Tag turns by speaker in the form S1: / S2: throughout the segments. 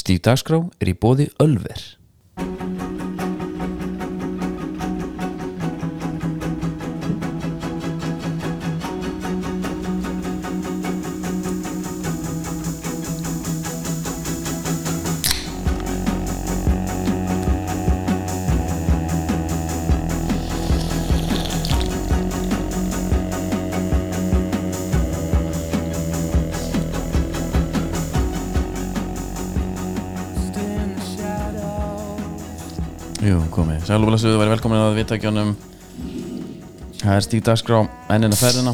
S1: Stíf Dagskrá er í bóði Ölver. Jú, komið. Sælu blessuðu, verið velkomin að viðtækjunum. Það er Stíf Dagskrá, ennina ferðina.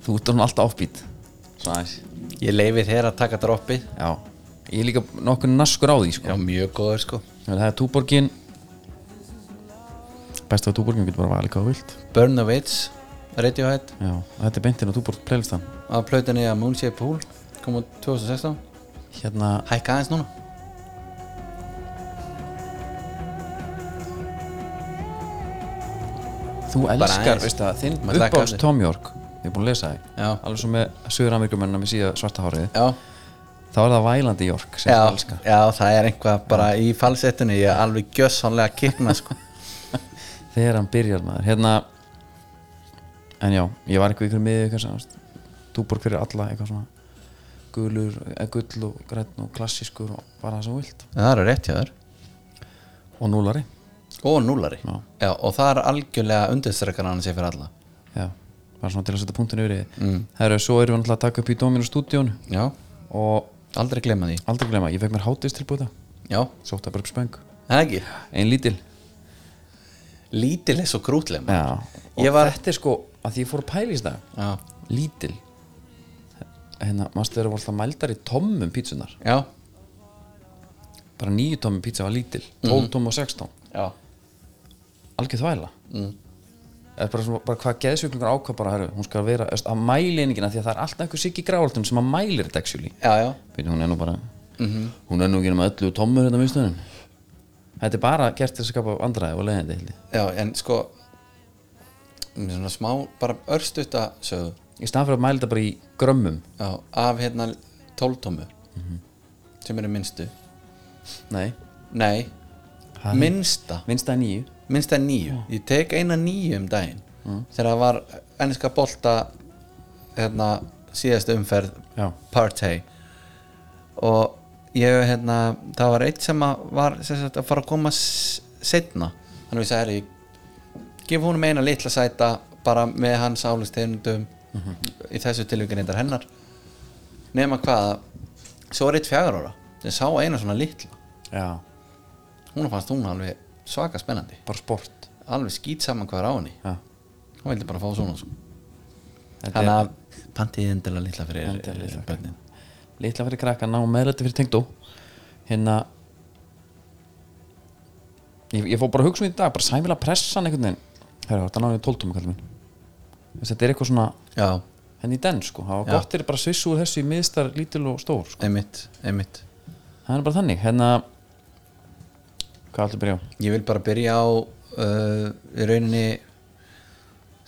S1: Þú ert hann alltaf áfbít. Sæs.
S2: Ég leifir þér að taka droppið
S1: Já. Ég er líka nokkur naskur á því, sko.
S2: Já, mjög góður sko
S1: Það er túborgin. Besta af túborgin, getur bara valið hvað þú vilt.
S2: Burn the Waits, Radiohead
S1: Já. Þetta er beintin á túborg playlistan.
S2: að plötunni að Moonshaped Pool kom út 2016
S1: Hérna,
S2: Hækka aðeins núna
S1: þú elskar,
S2: aðeins.
S1: veist það, þinn
S2: Maður slakar á
S1: uppáðs
S2: því.
S1: Tom York. Ég er búin að lesa þig.
S2: Já.
S1: Alveg svo með Suður-Amerikumennina með síða svarta hárið.
S2: Já,
S1: Þá er það vælandi York sem
S2: já,
S1: þú elskar.
S2: já, það er einhvað bara í falsettunni ég er alveg gjössanlega kikna sko
S1: þegar hann byrjar maður hérna en já, ég var eitthvað ykkur miðið eitthvað sem túborg fyrir alla eitthvað svona gulur, eh, gull og græn og klassískur og bara það sem þú vilt
S2: Það eru rétt hjá þér
S1: og núlari
S2: Og núlari
S1: Já.
S2: Já, og það er algjörlega undirstrekar hann sér fyrir alla
S1: já, bara svona til að setja punktin yfir mm. herru, svo erum við náttúrulega að taka upp í Dominus stúdíón
S2: Já,
S1: og
S2: aldrei glemma því
S1: aldrei glemma, ég fekk mér hátist tilbúið það
S2: Já,
S1: sótt það bara upp spöng,
S2: það er ekki
S1: ein lítil
S2: Lítil er svo krútlega
S1: já, og
S2: Ég var-
S1: þetta er sko að því ég fór að pæla í þess dag
S2: Já,
S1: lítil hérna, mannstu þeirra voru alltaf mældar í tommum pítsunar
S2: já,
S1: bara nýju tómi pizza var lítil 12 mm. og 16,
S2: já
S1: algjör þvæla mm. er bara, svona, bara hvað geðsjúklingur ákvað bara herru, hún skal vera, veist, að mæli einingina því að það er alltaf einhver sikki gráaldun sem að mælir þetta actually,
S2: Já, já,
S1: Fyrir, hún er nú bara hún er nú ekki nema 11 tómur hérna minnstunum þetta er bara gert til að skapa andræði og leiðandi held ég.
S2: Já, en sko með svona smá, bara örstutta sögðu
S1: í staðan fyrir að mæla þetta bara í grömmum
S2: já, af hérna tóltómu sem eru minnstu
S1: nei,
S2: Nei,
S1: Ha?
S2: minnsta
S1: minnst það er nýju
S2: minnsta er nýju, ég tek eina nýju um daginn þegar það var enniska bolta hérna síðasta umferð
S1: Já.
S2: partey og ég hérna, það var eitt sem að var sem sagt, að fara að koma s- seinna þannig að ég sagði "Herri, ég gef húnum eina litla sæta bara með hans álustegundum í þessu tilvíkinn reyndar hennar nema hvað svo er eitt fjagur ára sem sá eina svona litla
S1: já,
S2: hún fannst hún alveg svaka spennandi
S1: bara sport
S2: alveg skýt saman hvað er á henni
S1: já.
S2: hún vildi bara fá svona sko.
S1: Þetta
S2: þannig að pantið endilega litla fyrir
S1: Endilega litla.
S2: bönnin
S1: litla fyrir krakkan og meðlætti fyrir tengdó hérna ég, ég fór bara að hugsa um þetta í dag bara sæmilega pressan einhvern veginn Herra, þetta náði tóltum kallum minn Þess, þetta er eitthvað svona
S2: já,
S1: henni í den sko það var
S2: Já.
S1: gott er bara svissu úr þessu í miðstar lítil og stór sko.
S2: einmitt, einmitt
S1: það er bara þannig hérna hvað ætlum að byrja á?
S2: ég vil bara byrja á uh, í rauninni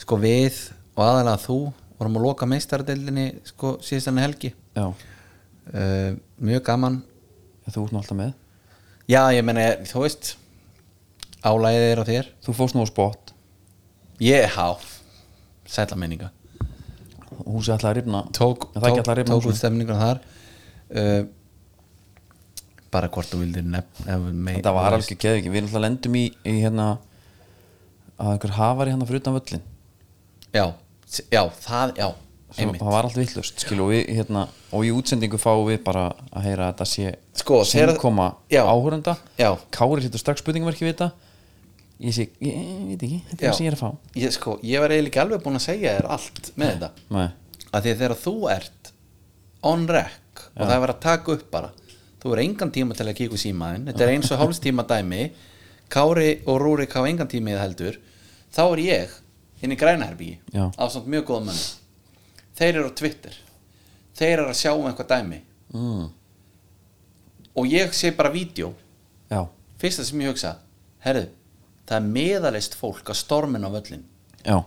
S2: sko við og aðalega þú vorum að loka meistaradeildinni sko síðast henni helgi
S1: já,
S2: uh, mjög gaman
S1: þú ert nú alltaf með
S2: já ég meina þú veist álæðið er á þér
S1: þú fórst nú á spott
S2: ég há sætla minninga
S1: húsið ætlaði að rifna
S2: tók,
S1: En það er ekki alltaf að
S2: tók,
S1: rifna
S2: tók
S1: húsið.
S2: út stemninguna þar uh, bara hvort þú vildir nefn ef mei-
S1: þetta var alveg geðið við erum alltaf lendum í, í hérna að einhver hafari hérna fyrir utan völlin
S2: já, s- já, það, já,
S1: Svo
S2: einmitt
S1: það var allt vittlust skilu, og, við, hérna, og í útsendingu fáum við bara að heyra að þetta sé
S2: Sko, þegar-
S1: koma
S2: Já.
S1: áhörunda
S2: Já.
S1: Kári hittu strax spurningamarki við þetta ég sé, ég, ég veit ekki þetta er
S2: Já.
S1: það sem ég er að fá
S2: ég, sko, ég var eiginlega ekki alveg búinn að segja þér allt með þetta
S1: Nei.
S2: að því að þegar þú ert on rec og það er verið að taka upp bara þú er engan tíma til að kíka úr símaðin þetta er eins og hálfstíma dæmi Kári og Rúrik hafa engan tíma í það heldur þá er ég inn í grænaherbyggi
S1: Já.
S2: á samt mjög góðum mönnum þeir eru á Twitter þeir eru að sjá um eitthvað dæmi
S1: mm.
S2: og ég sé bara vídeo
S1: já,
S2: fyrsta sem ég hugsa herðu, það er meðalist fólk að stormin á völlin
S1: já,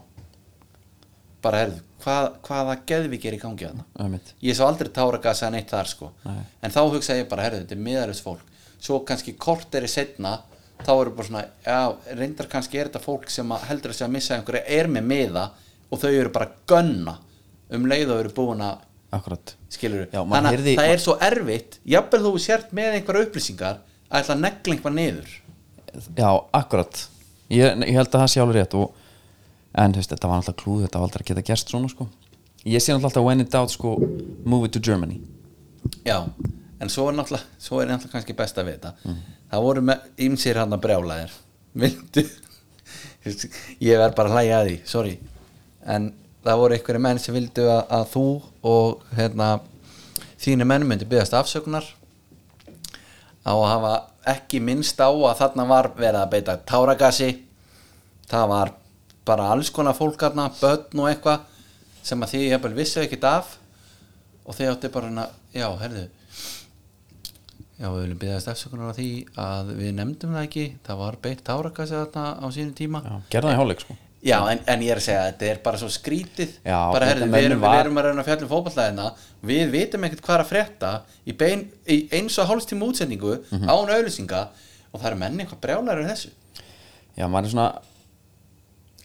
S2: bara herðu, hvað, hvaða geðvík er í gangi þarna
S1: ömmit
S2: ég svo aldrei táragasa neitt þar sko
S1: Nei.
S2: en þá hugsaði ég bara, herðu, þetta er miðarins fólk svo kannski kort er í setna þá eru bara svona, já, reyndar kannski er þetta fólk sem að heldur að sé að missa einhverja er með miða og þau eru bara að gönna um leið og eru búin að
S1: akkurat
S2: skilur
S1: Já, maður
S2: þannig að
S1: heyrði-
S2: það er svo erfitt jafnvel þú sért með einhverja upplýsingar að ætla að negla einhvað niður
S1: Já, akkurat ég, ég held að það sé alveg rétt og, en þú veist, þetta var alltaf klúð þetta var alltaf að geta gerst svona sko. ég sé náttúrulega alltaf when in doubt sko, move it to Germany
S2: já, en svo er náttúrulega svo er náttúrulega kannski best að vita það voru hérna með ímsir hann að brjála þér myndu ég verð bara að hlæja að því, sorry en það voru einhverju menn sem vildu að, að þú og hérna, þínu menn myndi byggast afsökunar á að hafa ekki minnst á að þarna var verið að beita táragasi það var bara alls konar fólk þarna, börn og eitthvað sem að því ég hefði vissu ekkert af og þeir átti bara hérna, já, herðu já, við viljum byggðast afsökunar á því að við nefndum það ekki það var beitt táragasi þarna á sínum tíma
S1: Já, gerða það í hálfleik sko.
S2: Já, en, en ég er að segja að þetta er bara svo skrítið
S1: Já,
S2: bara
S1: þetta
S2: herðu, við
S1: mönnum
S2: erum,
S1: var-
S2: við erum að reyna að fjallum fótballæðina við vitum ekkert hvað er að frétta í, bein, í eins og hálfstíma útsendingu
S1: Mhm.
S2: án auðlýsinga og það eru menn eitthvað brjálæri en þessu
S1: Já, maður er svona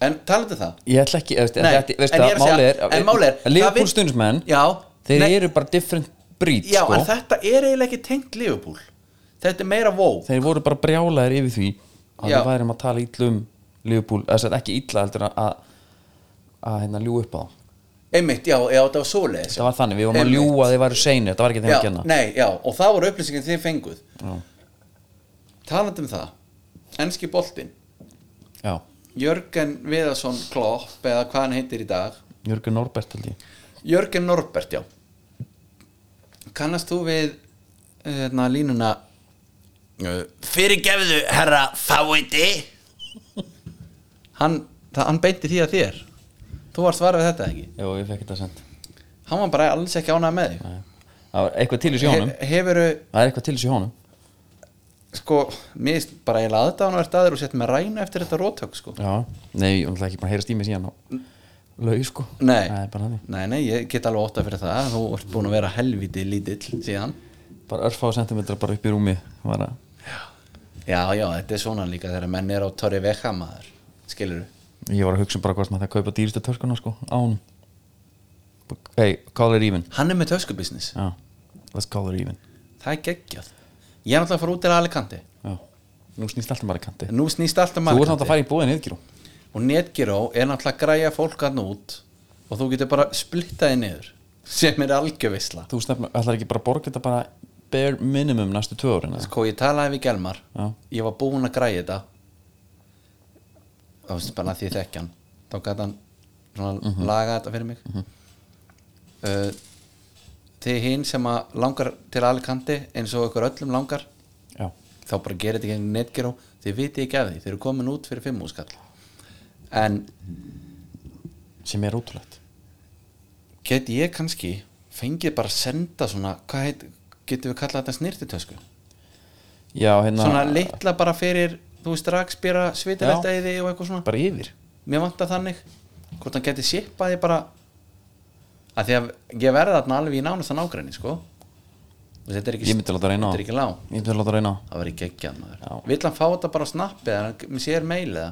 S2: en talaðu það
S1: ég ætla ekki, veist,
S2: Nei,
S1: þetta, veist
S2: en ég
S1: að
S2: er að
S1: málið
S2: segja-
S1: er,
S2: en málið er, það
S1: Liverpool
S2: vill-
S1: stuðningsmenn,
S2: Já,
S1: þeir
S2: nei-
S1: eru bara different breed
S2: Já,
S1: sko.
S2: en þetta er eiginlega ekki tengt Liverpool þetta er meira vó
S1: þeir voru bara brjálaðir yfir því að
S2: Já.
S1: við værum að tala ítla um Liverpool, þess að ekki ítla heldur að að, að hérna ljú upp á það
S2: einmitt, já, já, þetta var svoleiðis
S1: þetta var þannig, við vorum að
S2: Einmitt.
S1: ljúa að þeir væru seinir, þetta var ekki hérna. þeim að
S2: já,
S1: kenna
S2: nei, já, og það voru upplýsingin þið fenguð talandi um það enski boltinn
S1: Já,
S2: Jörgen Viðarsson Klopp eða hvað hann heitir í dag
S1: Jörgur Norbert held ég
S2: Jörgen Norbert, já kannast þú við hérna línuna eh, fyrirgefðu herra fáiði hann, það, hann beinti því að þér þú varst svarað við þetta ekki
S1: Já, ég fekk þetta sent
S2: hann var bara alls ekki ánað með
S1: Nei. Það var eitthvað til í
S2: þig
S1: sjónum
S2: hefuru
S1: Það er eitthvað til í sjónum
S2: sko, mér finnst bara ég laði þetta á náður staður og sett með ræna eftir þetta rótök sko.
S1: Já, nei, ég ætla ekki bara að heyra stími síðan á laug sko
S2: Nei.
S1: Það er bara þannig
S2: nei, nei, ég get alveg ótta fyrir það þú ert búin að vera helviti lítill síðan
S1: Bara örfá sentimetra bara upp í rúmi var að,
S2: já, já, þetta er svona líka þegar menn er á torri vekka maður skilur
S1: Ég var að hugsa um bara hvort maður það kaupa dýristu törkuna sko Án Hey, call it even
S2: hann er með töskubusiness,
S1: Já, let's call it even
S2: það er geggjað ég er náttúrulega að fara út til Alicante
S1: Já, nú snýst alltaf bara í kanti
S2: nú snýst allt um
S1: Þú ert nátt
S2: Alicante
S1: að fara í búðin yfirgjörú
S2: og Netgyro er náttúrulega að græja fólk hann út og þú getur bara splittaði niður sem er algjöfisla
S1: Þú stefnir, ætlar ekki bara að borga þetta bara bare minimum næstu tvö árin eða?
S2: sko, ég talaði við Gelmar
S1: Já,
S2: ég var búinn að græja þetta þá veist bara að því ég þekki hann þá gæti hann svona laga þetta fyrir mig mm þegar hinn sem að langar til Alicante eins og ykkur öllum langar
S1: já,
S2: þá bara gerir þetta gegn netgeró þið viti ekki af því, þeir eru komin út fyrir fimm úrskall en
S1: sem er ótrúlegt
S2: get ég kannski fengið bara að senda svona hvað heit, getum við kallað þetta snirtitösku
S1: Já, hérna
S2: svona litla bara fyrir þú veist rakspýra, svitilegt
S1: Já.
S2: og eitthvað svona
S1: Bara yfir
S2: mér vantar þannig hvort hann geti sippaði bara að því að ég verði þarna alveg í nánasta nágræni sko og þetta er ekki
S1: Ég myndi láta reyna á
S2: þetta er ekki lá
S1: Ég myndi láta reyna á
S2: það verði geggjað maður
S1: Já.
S2: vill hann fá þetta bara á snappi eða hann- mér sér mail eða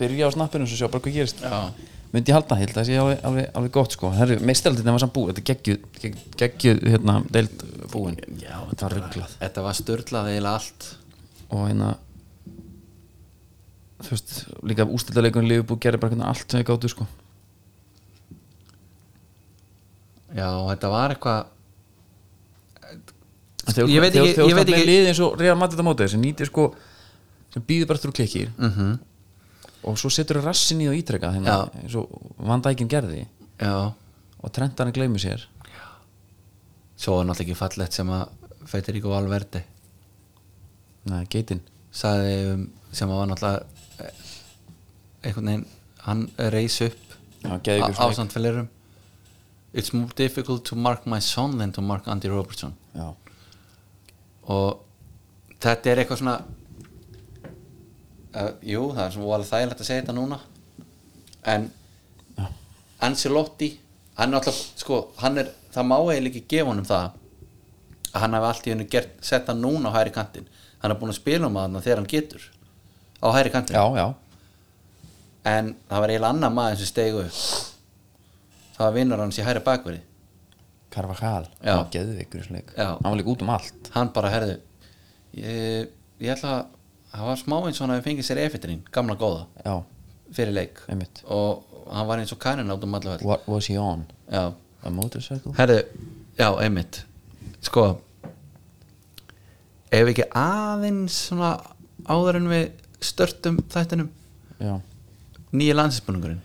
S1: Byrja á snappinu og svo sjá bara hvað gerist
S2: já
S1: Myndi ég halda, ég held að það sé alveg, alveg, alveg gott sko Herru, meistaraldin var samt búið, þetta er geggjuð gegg, geggjuð, hérna, deild búin
S2: já
S1: þetta var rugglað
S2: þetta var störtlað eiginlega allt
S1: Og hérna Þú veist, líka ústildarleikun Liverpool gerir bara hvernig allt sem ég gáttu sko
S2: já þetta var eitthvað
S1: En þegar-
S2: Ég veit ekki-
S1: þegar-
S2: ég
S1: Þegar
S2: veit
S1: þú
S2: ekki-
S1: með liðið eins og Real Madrid á móti þessi nýtir sko sem býður bara þrjú klikkir
S2: mhm,
S1: -hmm. og svo setur rassin í og ítreka hérna,
S2: Já.
S1: eins og vandækin gerði
S2: já
S1: og trendarinn gleymur sér
S2: svo var náttúrulega ekki fallegt sem að Federico Valverde
S1: Nei, geitin
S2: sagði um, sem að var náttúrulega eh, einhvern veginn hann reis upp
S1: Já, geðvíkur
S2: Á-
S1: svona
S2: ásamt fleirum It's more difficult to mark my son than to mark Andy Robertson
S1: Já,
S2: og þetta er eitthvað svona uh, jú, það er svona voðalega þægilegt að segja þetta núna en Ancelotti hann er alltaf, sko, hann er það má eiginlega ekki gefa honum það að hann hafi allt í hennu gert, sett hann núna á hæri kantinn, hann er búin að spila um hann þegar hann getur, á hæri kantinn
S1: já, já,
S2: en það var eiginlega annar maður sem stegu það var vinnur hans í hæri bakverði
S1: Carvajal
S2: Já.
S1: hann var geðveikur í þessum leik
S2: Já.
S1: hann var líka út um allt
S2: hann bara herðu ég, ég ætla að það var smá eins og hann hafi fengið sér efetirinn gamla góða,
S1: já,
S2: fyrir leik
S1: einmitt
S2: og hann var eins og kannin át um allaveg
S1: What was he on?
S2: já,
S1: A motorcycle?
S2: herðu, já, einmitt sko ef við ekki aðeins svona áður en við störtum þættinum
S1: já,
S2: nýja landsinsbúningurinn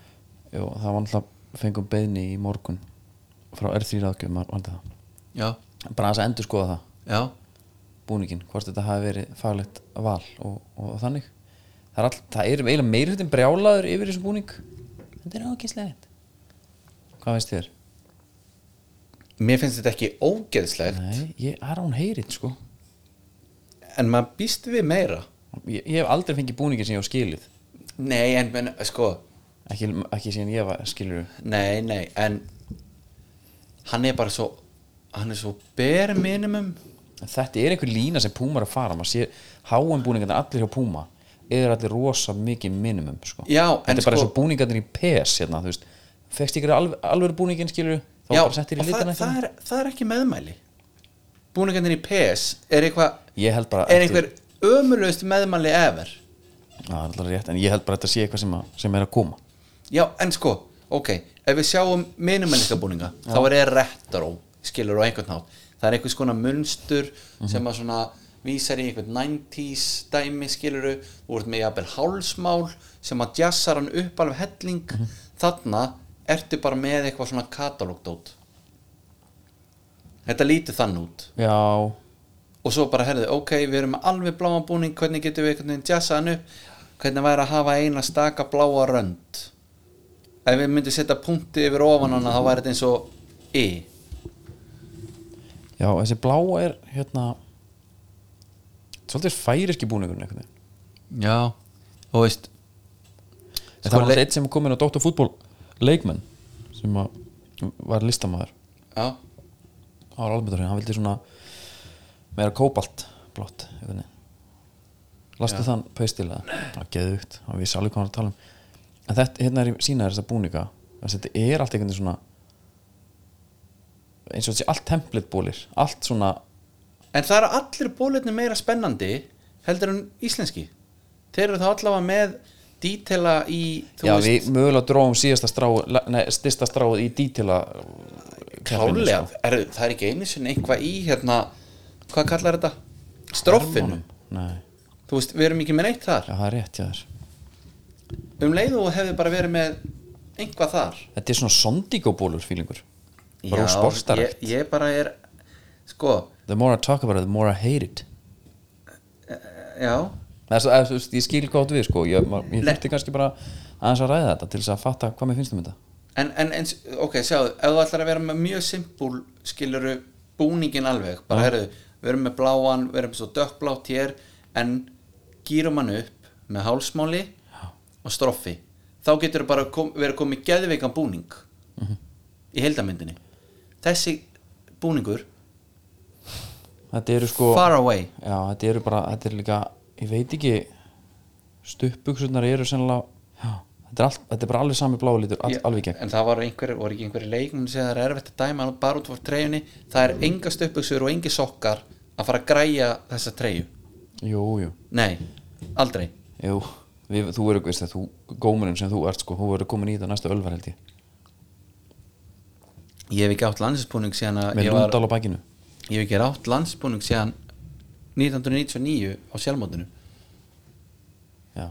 S1: Jú, það var alltaf fengum beðni í morgun frá R3 ráðgjöfum að valda það
S2: já,
S1: bara aðeins að endur skoða það
S2: já,
S1: búningin, hvort þetta hafi verið faglegt val og, og þannig það er, all, það er eiginlega meirhutin brjálaður yfir þessum búning þetta er ókislegt hvað veist þér?
S2: mér finnst þetta ekki ógeðslegt
S1: Nei, ég er án heyrið sko
S2: en maður býst við meira
S1: ég, ég hef aldrei fengið búningin sem ég á skilið
S2: nei, en, en sko
S1: ekki, ekki síðan ég var skilur
S2: Nei, nei, en hann er bara svo hann er svo bare minimum
S1: þetta er einhver lína sem Puma er að fara maður sé háum búningarnir allir hjá Puma er allir rosa mikið minimum sko.
S2: Já, en
S1: þetta er bara
S2: sko-
S1: eins og búningarnir í PS hérna, þú veist, fekst ykkur alv alveg búningin skilur þá
S2: Já,
S1: bara settir í
S2: og það,
S1: litana
S2: það, er, það er ekki meðmæli Búningarnir í PS er eitthvað
S1: ég held bara
S2: er
S1: eftir-
S2: einhver ömulegust meðmæli ever
S1: Já, það er alltaf rétt, en ég held bara að þetta sé eitthvað sem, að, sem er að koma
S2: Já, en sko, ok ef við sjáum minimaliska búninga þá er það retro, skilur á einhvern hátt það er einhvers konar munstur sem að svona vísar í einhvern 90s dæmi skiluru þú ert með jafnvel hálsmál sem að jassar hann upp alveg helling þarna ertu bara með eitthvað svona katalógdót þetta lítur þann út
S1: Já,
S2: og svo bara herðið, ok, við erum með alveg bláan búning hvernig getum við einhvern veginn jazzað hann upp hvernig væri að hafa eina staka bláa rönd ef við myndum setja punkti yfir ofan hana þá væri þetta eins og E. í
S1: já, þessi blá er hérna svolítið færiski búningurinn einhvern
S2: Sko,
S1: veginn
S2: já, þú veist
S1: En það var
S2: le-
S1: alltaf eitt sem kom inn á Dóttar fútból leikmenn sem að var listamaður
S2: já,
S1: á Almyndurinn, hann vildi svona meira kóbalt blott einhvern veginn. Lastu þann pæstilega, það var geðugt og við sáum hvað hann var að tala um en þetta, hérna er í sína þess að búninga þess að þetta er allt einhvern veginn svona eins og þetta sé allt templitbólir allt svona,
S2: en það eru allir bólirni meira spennandi heldur en íslenski þeir eru þá allavega með dítela í, þú
S1: já
S2: veist,
S1: við mögulega dróðum síðasta strá, nei, stista stráð í sko. dítila
S2: klálega er, það er ekki einu sinni eitthvað í hérna, hvað kallar þetta stroffinu,
S1: nei,
S2: þú veist, við erum ekki með neitt þar
S1: já það er rétt hjá þér
S2: um leið og hefði bara verið með einhvað þar
S1: Þetta er svona sondíkóbólur fílingur Bara úr sportstara
S2: ég, ég bara er sko,
S1: The more I talk about it, the more I hate it
S2: já
S1: Það er svo, eða, þú veist, Ég skil gott við sko Ég, ma- ég
S2: Nei.
S1: þurfti kannski bara aðeins að ræða þetta Til þess að fatta hvað mér finnst um þetta
S2: en, en eins, ok, sjáðu, ef þú ætlar að vera með mjög simpúl skiluru búningin alveg bara herðu, við erum með bláan við erum með svo dökkblátt hér en gýrum hann upp með hálsmáli og stroffi þá getur þú bara kom, verið komið geðveikan búning í heildamyndinni þessi búningur
S1: Þetta eru sko
S2: far away
S1: Já, þetta eru bara, þetta eru líka Ég veit ekki Stuppbuksurnar eru sennilega já, þetta, er allt, þetta er bara alveg sami bláulítur all,
S2: Já,
S1: Alveg í gegn
S2: en það var einhver, voru ekki einhverju leikmenn sem það er erfitt að dæma alveg bara út frá treyjunni það er enga stöpuksur og engi sokkar að fara að græja þessa treyju
S1: Jú, jú,
S2: nei, aldrei
S1: jú við, Þú eru, veist það, þú Gómurinn sem þú ert sko Þú verður komin í þetta næsta ölvar held ég
S2: ég hef ekki átt landsinsbúning síðan að
S1: Með
S2: ég, var,
S1: lúndal á bakinu
S2: ég hef ekki átt landsinsbúning síðan 1999 á sjálfmótinu
S1: Já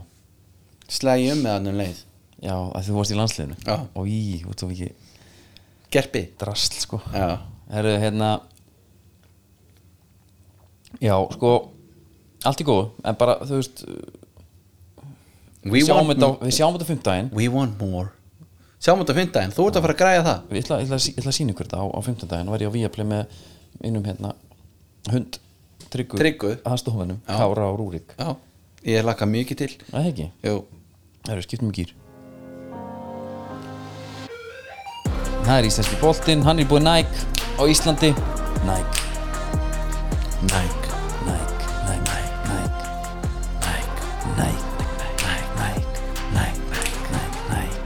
S2: slæði um með annum leið
S1: Já, að þú varst í landsliðinu
S2: Já.
S1: Og í, þú ert svo ekki
S2: gerpi
S1: drasl sko
S2: já,
S1: Herru, hérna Já, sko Allt í góðu, en bara, þú veist
S2: we,
S1: Við sjáum
S2: want,
S1: þetta
S2: mo-
S1: á- við sjáum þetta á fimmtudaginn
S2: we want more sjáum þetta fynda en þú ert að fara að græja það
S1: Ég ætla, ég ætla, að sí- ég ætla að sína ykkur þetta á, á fimmtudaginn Nú var ég á Víaplay með innum hérna Hund, Tryggur
S2: Tryggvi.
S1: Aðstofunum, Kára og Rúrik
S2: já, ég laka mikið til
S1: Það er ekki
S2: Jú.
S1: Herru, skiptum um gýr það er íslenski boltinn, hann er búið Nike á Íslandi Nike,
S2: Nike
S1: Nike, Nike, Nike, Nike,
S2: Nike
S1: Nike, Nike, Nike, Nike, Nike,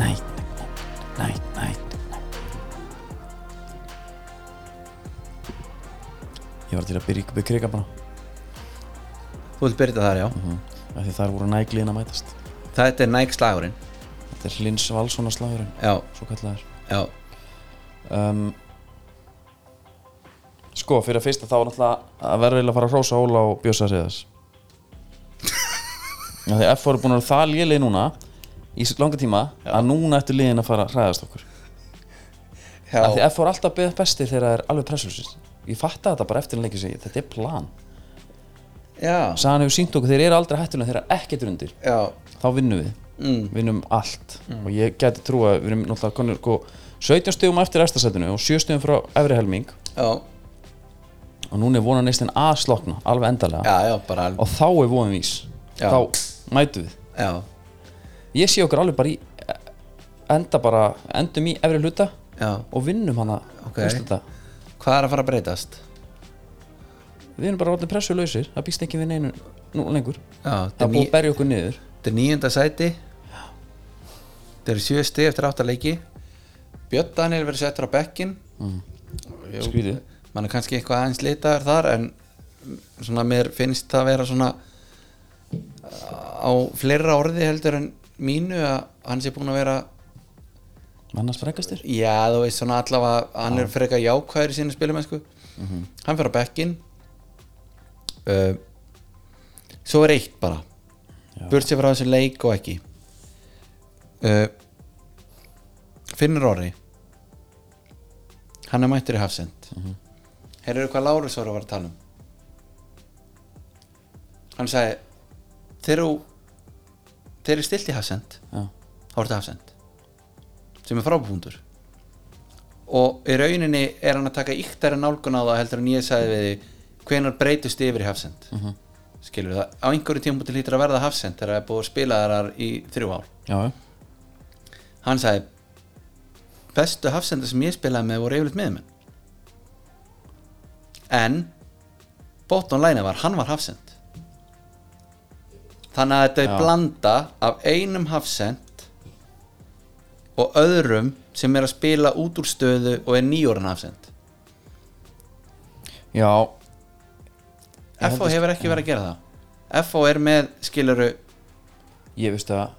S1: Nike, Nike, Nike, Nike, Nike, Ég var til að byrja ykkur kriga bara
S2: Þú vilt byrja þar, já
S1: Mm. af því þar voru nægliðin að mætast
S2: Þetta er Nike slagurinn
S1: Þetta er Hlins Valssonar slagurinn
S2: Já,
S1: svo kallaður
S2: já,
S1: um, Sko, fyrir að fyrsta þá var náttúrulega að verður eiginlega að fara að hrósa Óla og Bjössa Seyðas Því að F voru búin að vera það lélið núna í svo langa tíma að núna ættu liðin að fara að hræðast okkur
S2: já.
S1: Af því F voru alltaf beðið besti þegar það er alveg pressursins Ég fatta þetta bara eftir en leikir sig Þetta er plan
S2: já.
S1: Sagan hefur sínt okkur, þeir eru aldrei hættulega þegar ekkert er undir
S2: já.
S1: þá vinnum við
S2: Mm.
S1: vinnum allt og ég geti trú að við erum náttúrulega konur sko, 17 stegum eftir efstasætinu og 7 stegum frá efri helming
S2: já,
S1: og núna er vonan neistinn að slokna alveg endalega
S2: já, já, bara alveg
S1: og þá er vonan vís
S2: Já.
S1: þá mætu við
S2: já,
S1: ég sé okkur alveg bara í eh, enda bara, endum í efri hluta
S2: já,
S1: og vinnum hana
S2: Ok.
S1: úrslita.
S2: hvað er að fara að breytast?
S1: við erum bara orðin pressu lausir það býst ekki við neinu nú lengur
S2: Já,
S1: það
S2: þetta
S1: er
S2: er,
S1: búið
S2: ný,
S1: að berja okkur niður
S2: þetta er nýjunda sæti þetta eru sjö stið eftir átta leiki Björn Daniel verið settur á bekkin
S1: skrýtið
S2: mann er kannski eitthvað aðeins litaður þar en svona mér finnst það að vera svona á fleira orði heldur en mínu að hann sé búin að vera
S1: annars frekastir
S2: Já, þú veist svona allavega hann er frekar jákvæður í sínu spilumennsku hann fer á bekkin uh, svo er eitt bara
S1: Já.
S2: burt sér frá þessu leik og ekki uh, Finnur Orri hann er mættur í Hafsend mm -hmm. hvað Lárus voru að var að tala um hann sagði þegar þú þegar þú stilt í Hafsend
S1: já,
S2: þá er þetta afsend sem er frábúndur og í rauninni er hann að taka yktari nálgun á það heldur en ég sagði við því hvenar breytust yfir í hafsend mm
S1: mhm.
S2: skilur það, á einhverju tíma til hlýtur að verða hafsend þegar það er búið að spila þar í þrjú ár
S1: já, já.
S2: hann sagði bestu hafsenda sem ég spilaði með voru yfirleitt miðmenn en bottom line var, hann var hafsend þannig að þetta
S1: Já.
S2: er blanda af einum hafsend og öðrum sem er að spila út úr stöðu og er nýjóran hafsend
S1: já Ég
S2: FO
S1: held að-
S2: hefur ekki verið að gera það FO er með skiluru
S1: ég veist að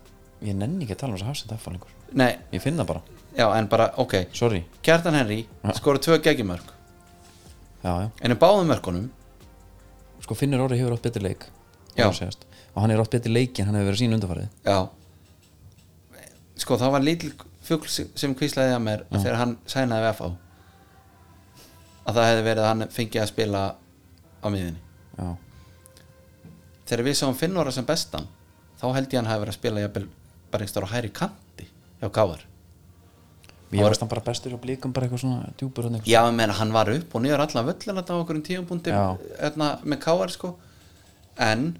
S1: ég nenni ekki að tala um þess að hafsend F lengur
S2: nei,
S1: ég finn það bara,
S2: já en bara, ok
S1: sorry
S2: Kjartan Henry
S1: Já.
S2: skora tvö geggjumörk
S1: já, já.
S2: en er báðum mörkunum
S1: sko Finnur Orri hefur átt betri leik
S2: Já.
S1: má segjast. og hann er átt betri leiki en hann hefur verið sín undanfarið
S2: Já Sko það var lítil fugl sem kvíslaði að mér þegar hann sænaði við FH að það hefði verið að hann fengið að spila á miðinni
S1: já,
S2: Þegar við sáum Finnóra sem bestan þá held ég hann hafi verið að spila jafnvel, bara einhverjum á hæri kanti hjá Káar
S1: ég veist hann bara bestur og blíkum bara eitthvað svona djúpur hann
S2: Já, ég meina hann var upp og niður allan völlin þetta á okkur um tíumbúndi
S1: Já.
S2: með Káar sko en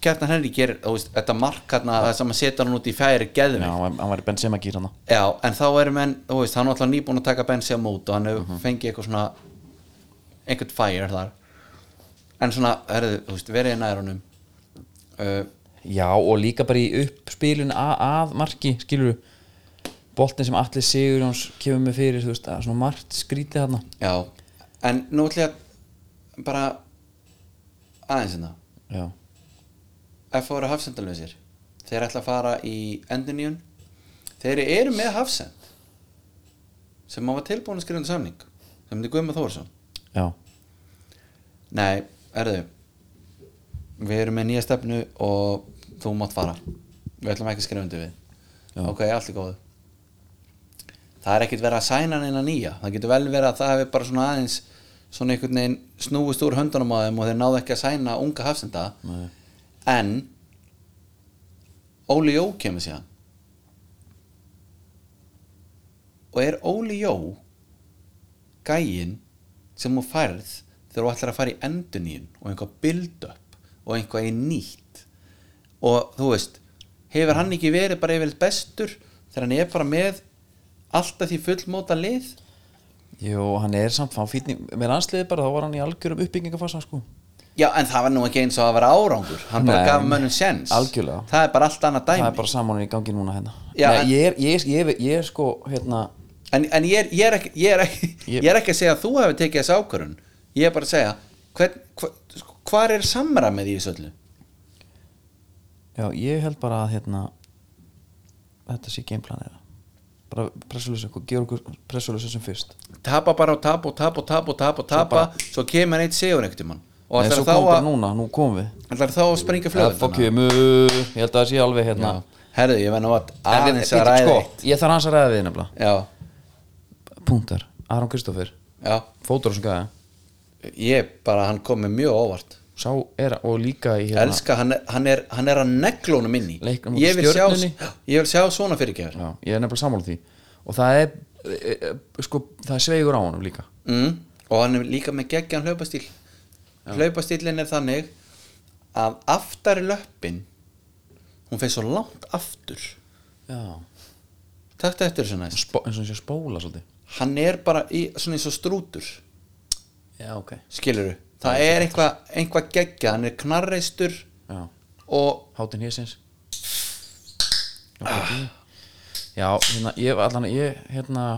S2: Kjartan Henry gerir, þú veist, þetta mark hérna, það sem að setja hann út í færi geðum
S1: já, hann hann var í Benzema gýr hann
S2: Já, en þá er menn, þú veist, hann er alltaf nýbúin að taka bensi á mót og hann hefur fengið eitthvað svona einhvern fire þar en svona, herðu, þú veist, verið í nærunum uh,
S1: já, og líka bara í uppspilun að, að marki, skilur boltin sem allir sigur hans kemur með fyrir, þú veist, að svona margt skrítið hann
S2: Já, en nú ætlum ég að bara aðeins hérna
S1: já,
S2: FH eru hafsendalöðsir þeir ætla að fara í endiníun þeir eru með hafsend sem maður var tilbúin að skrifa um samning sem þið Guðma Þórsson
S1: já,
S2: Nei, erðu Við erum með nýja stefnu og þú mátt fara Við ætlum ekki að skrifa undir við
S1: Já.
S2: Ok, allt er góð Það er ekkert verið að sæna neina nýja Það getur vel verið að það hefur bara svona aðeins svona einhvern veginn snúist úr höndunum á þeim og þeir náðu ekki að sæna unga hafsenda
S1: Nei.
S2: en Óli Jó kemur síðan og er Óli Jó gæin sem þú færð þegar þú ætlar að fara í endunín og einhvað build up og einhvað í nýtt og þú veist hefur hann ekki verið bara yfirleitt bestur þegar hann er bara með alltaf því fullmóta lið
S1: Jú, hann er samt fá fítni með landsliði bara, þá var hann í algjörum uppbyggingafasa sko.
S2: já en það var nú ekki eins og að vera árangur hann bara
S1: Nei.
S2: gaf mönnum sens
S1: Algjörlega.
S2: það er bara allt annað
S1: það
S2: dæmi
S1: er bara saman í gangi núna hérna
S2: Já, en-
S1: Nei, ég, er, ég, er- ég, er- ég er sko hérna,
S2: en, en ég, er, ég, er ekki, ég, er ekki,
S1: Ég-
S2: ég er ekki að segja að þú hefur tekið þessi ákvörun ég er bara að segja hvern, hva, sko, hvar er samræmið í þessu öllu
S1: já, ég held bara að hérna, þetta sé gameplan eða bara pressulösa, gera okkur pressulösa sem fyrst
S2: tapa bara og tapa og tapa og tapa og tapa, og tapa svo kemur hann eitt sigur einhvern tímann og
S1: Nei,
S2: ætlar
S1: svo
S2: þá,
S1: komum bara
S2: að-
S1: núna, nú komum við
S2: ætlar þá að springa
S1: Það fokk
S2: flöðuna
S1: ég mjög, ég held að það sé alveg hérna
S2: herðu ég venna vat
S1: En við-
S2: aðeins að
S1: bíddu,
S2: ræða eitt.
S1: sko, Ég þarf hans að ræða við nefnilega
S2: já,
S1: Punktar, Aron Kristoffer,
S2: já,
S1: fótur og sem gæða
S2: ég bara hann kom með mjög óvart
S1: Sá er, og líka í hérna
S2: elska, hann, er- hann, er, hann er að neglónum inni
S1: Leiknum á
S2: ég vil, sjá,
S1: Stjörnunni.
S2: ég vil sjá svona fyrirgefur
S1: Já, ég er nefnilega sammála því Og það er, e, e, sko, það er sveigur á honum líka
S2: mm, og hann er líka með geggjan hlaupastíl hlaupastílin er þannig að aftari löppin hún feir svo langt aftur
S1: Já
S2: takta eftir þessu næst
S1: Spó, eins og hann sé að spóla svolítið
S2: hann er bara í, svona eins og strútur
S1: Já, ok
S2: skiluru, það er eitthvað eitthva geggja, hann er knarreistur
S1: Já,
S2: og
S1: hátinn hésins Já, hérna, ég var allan, ég, hérna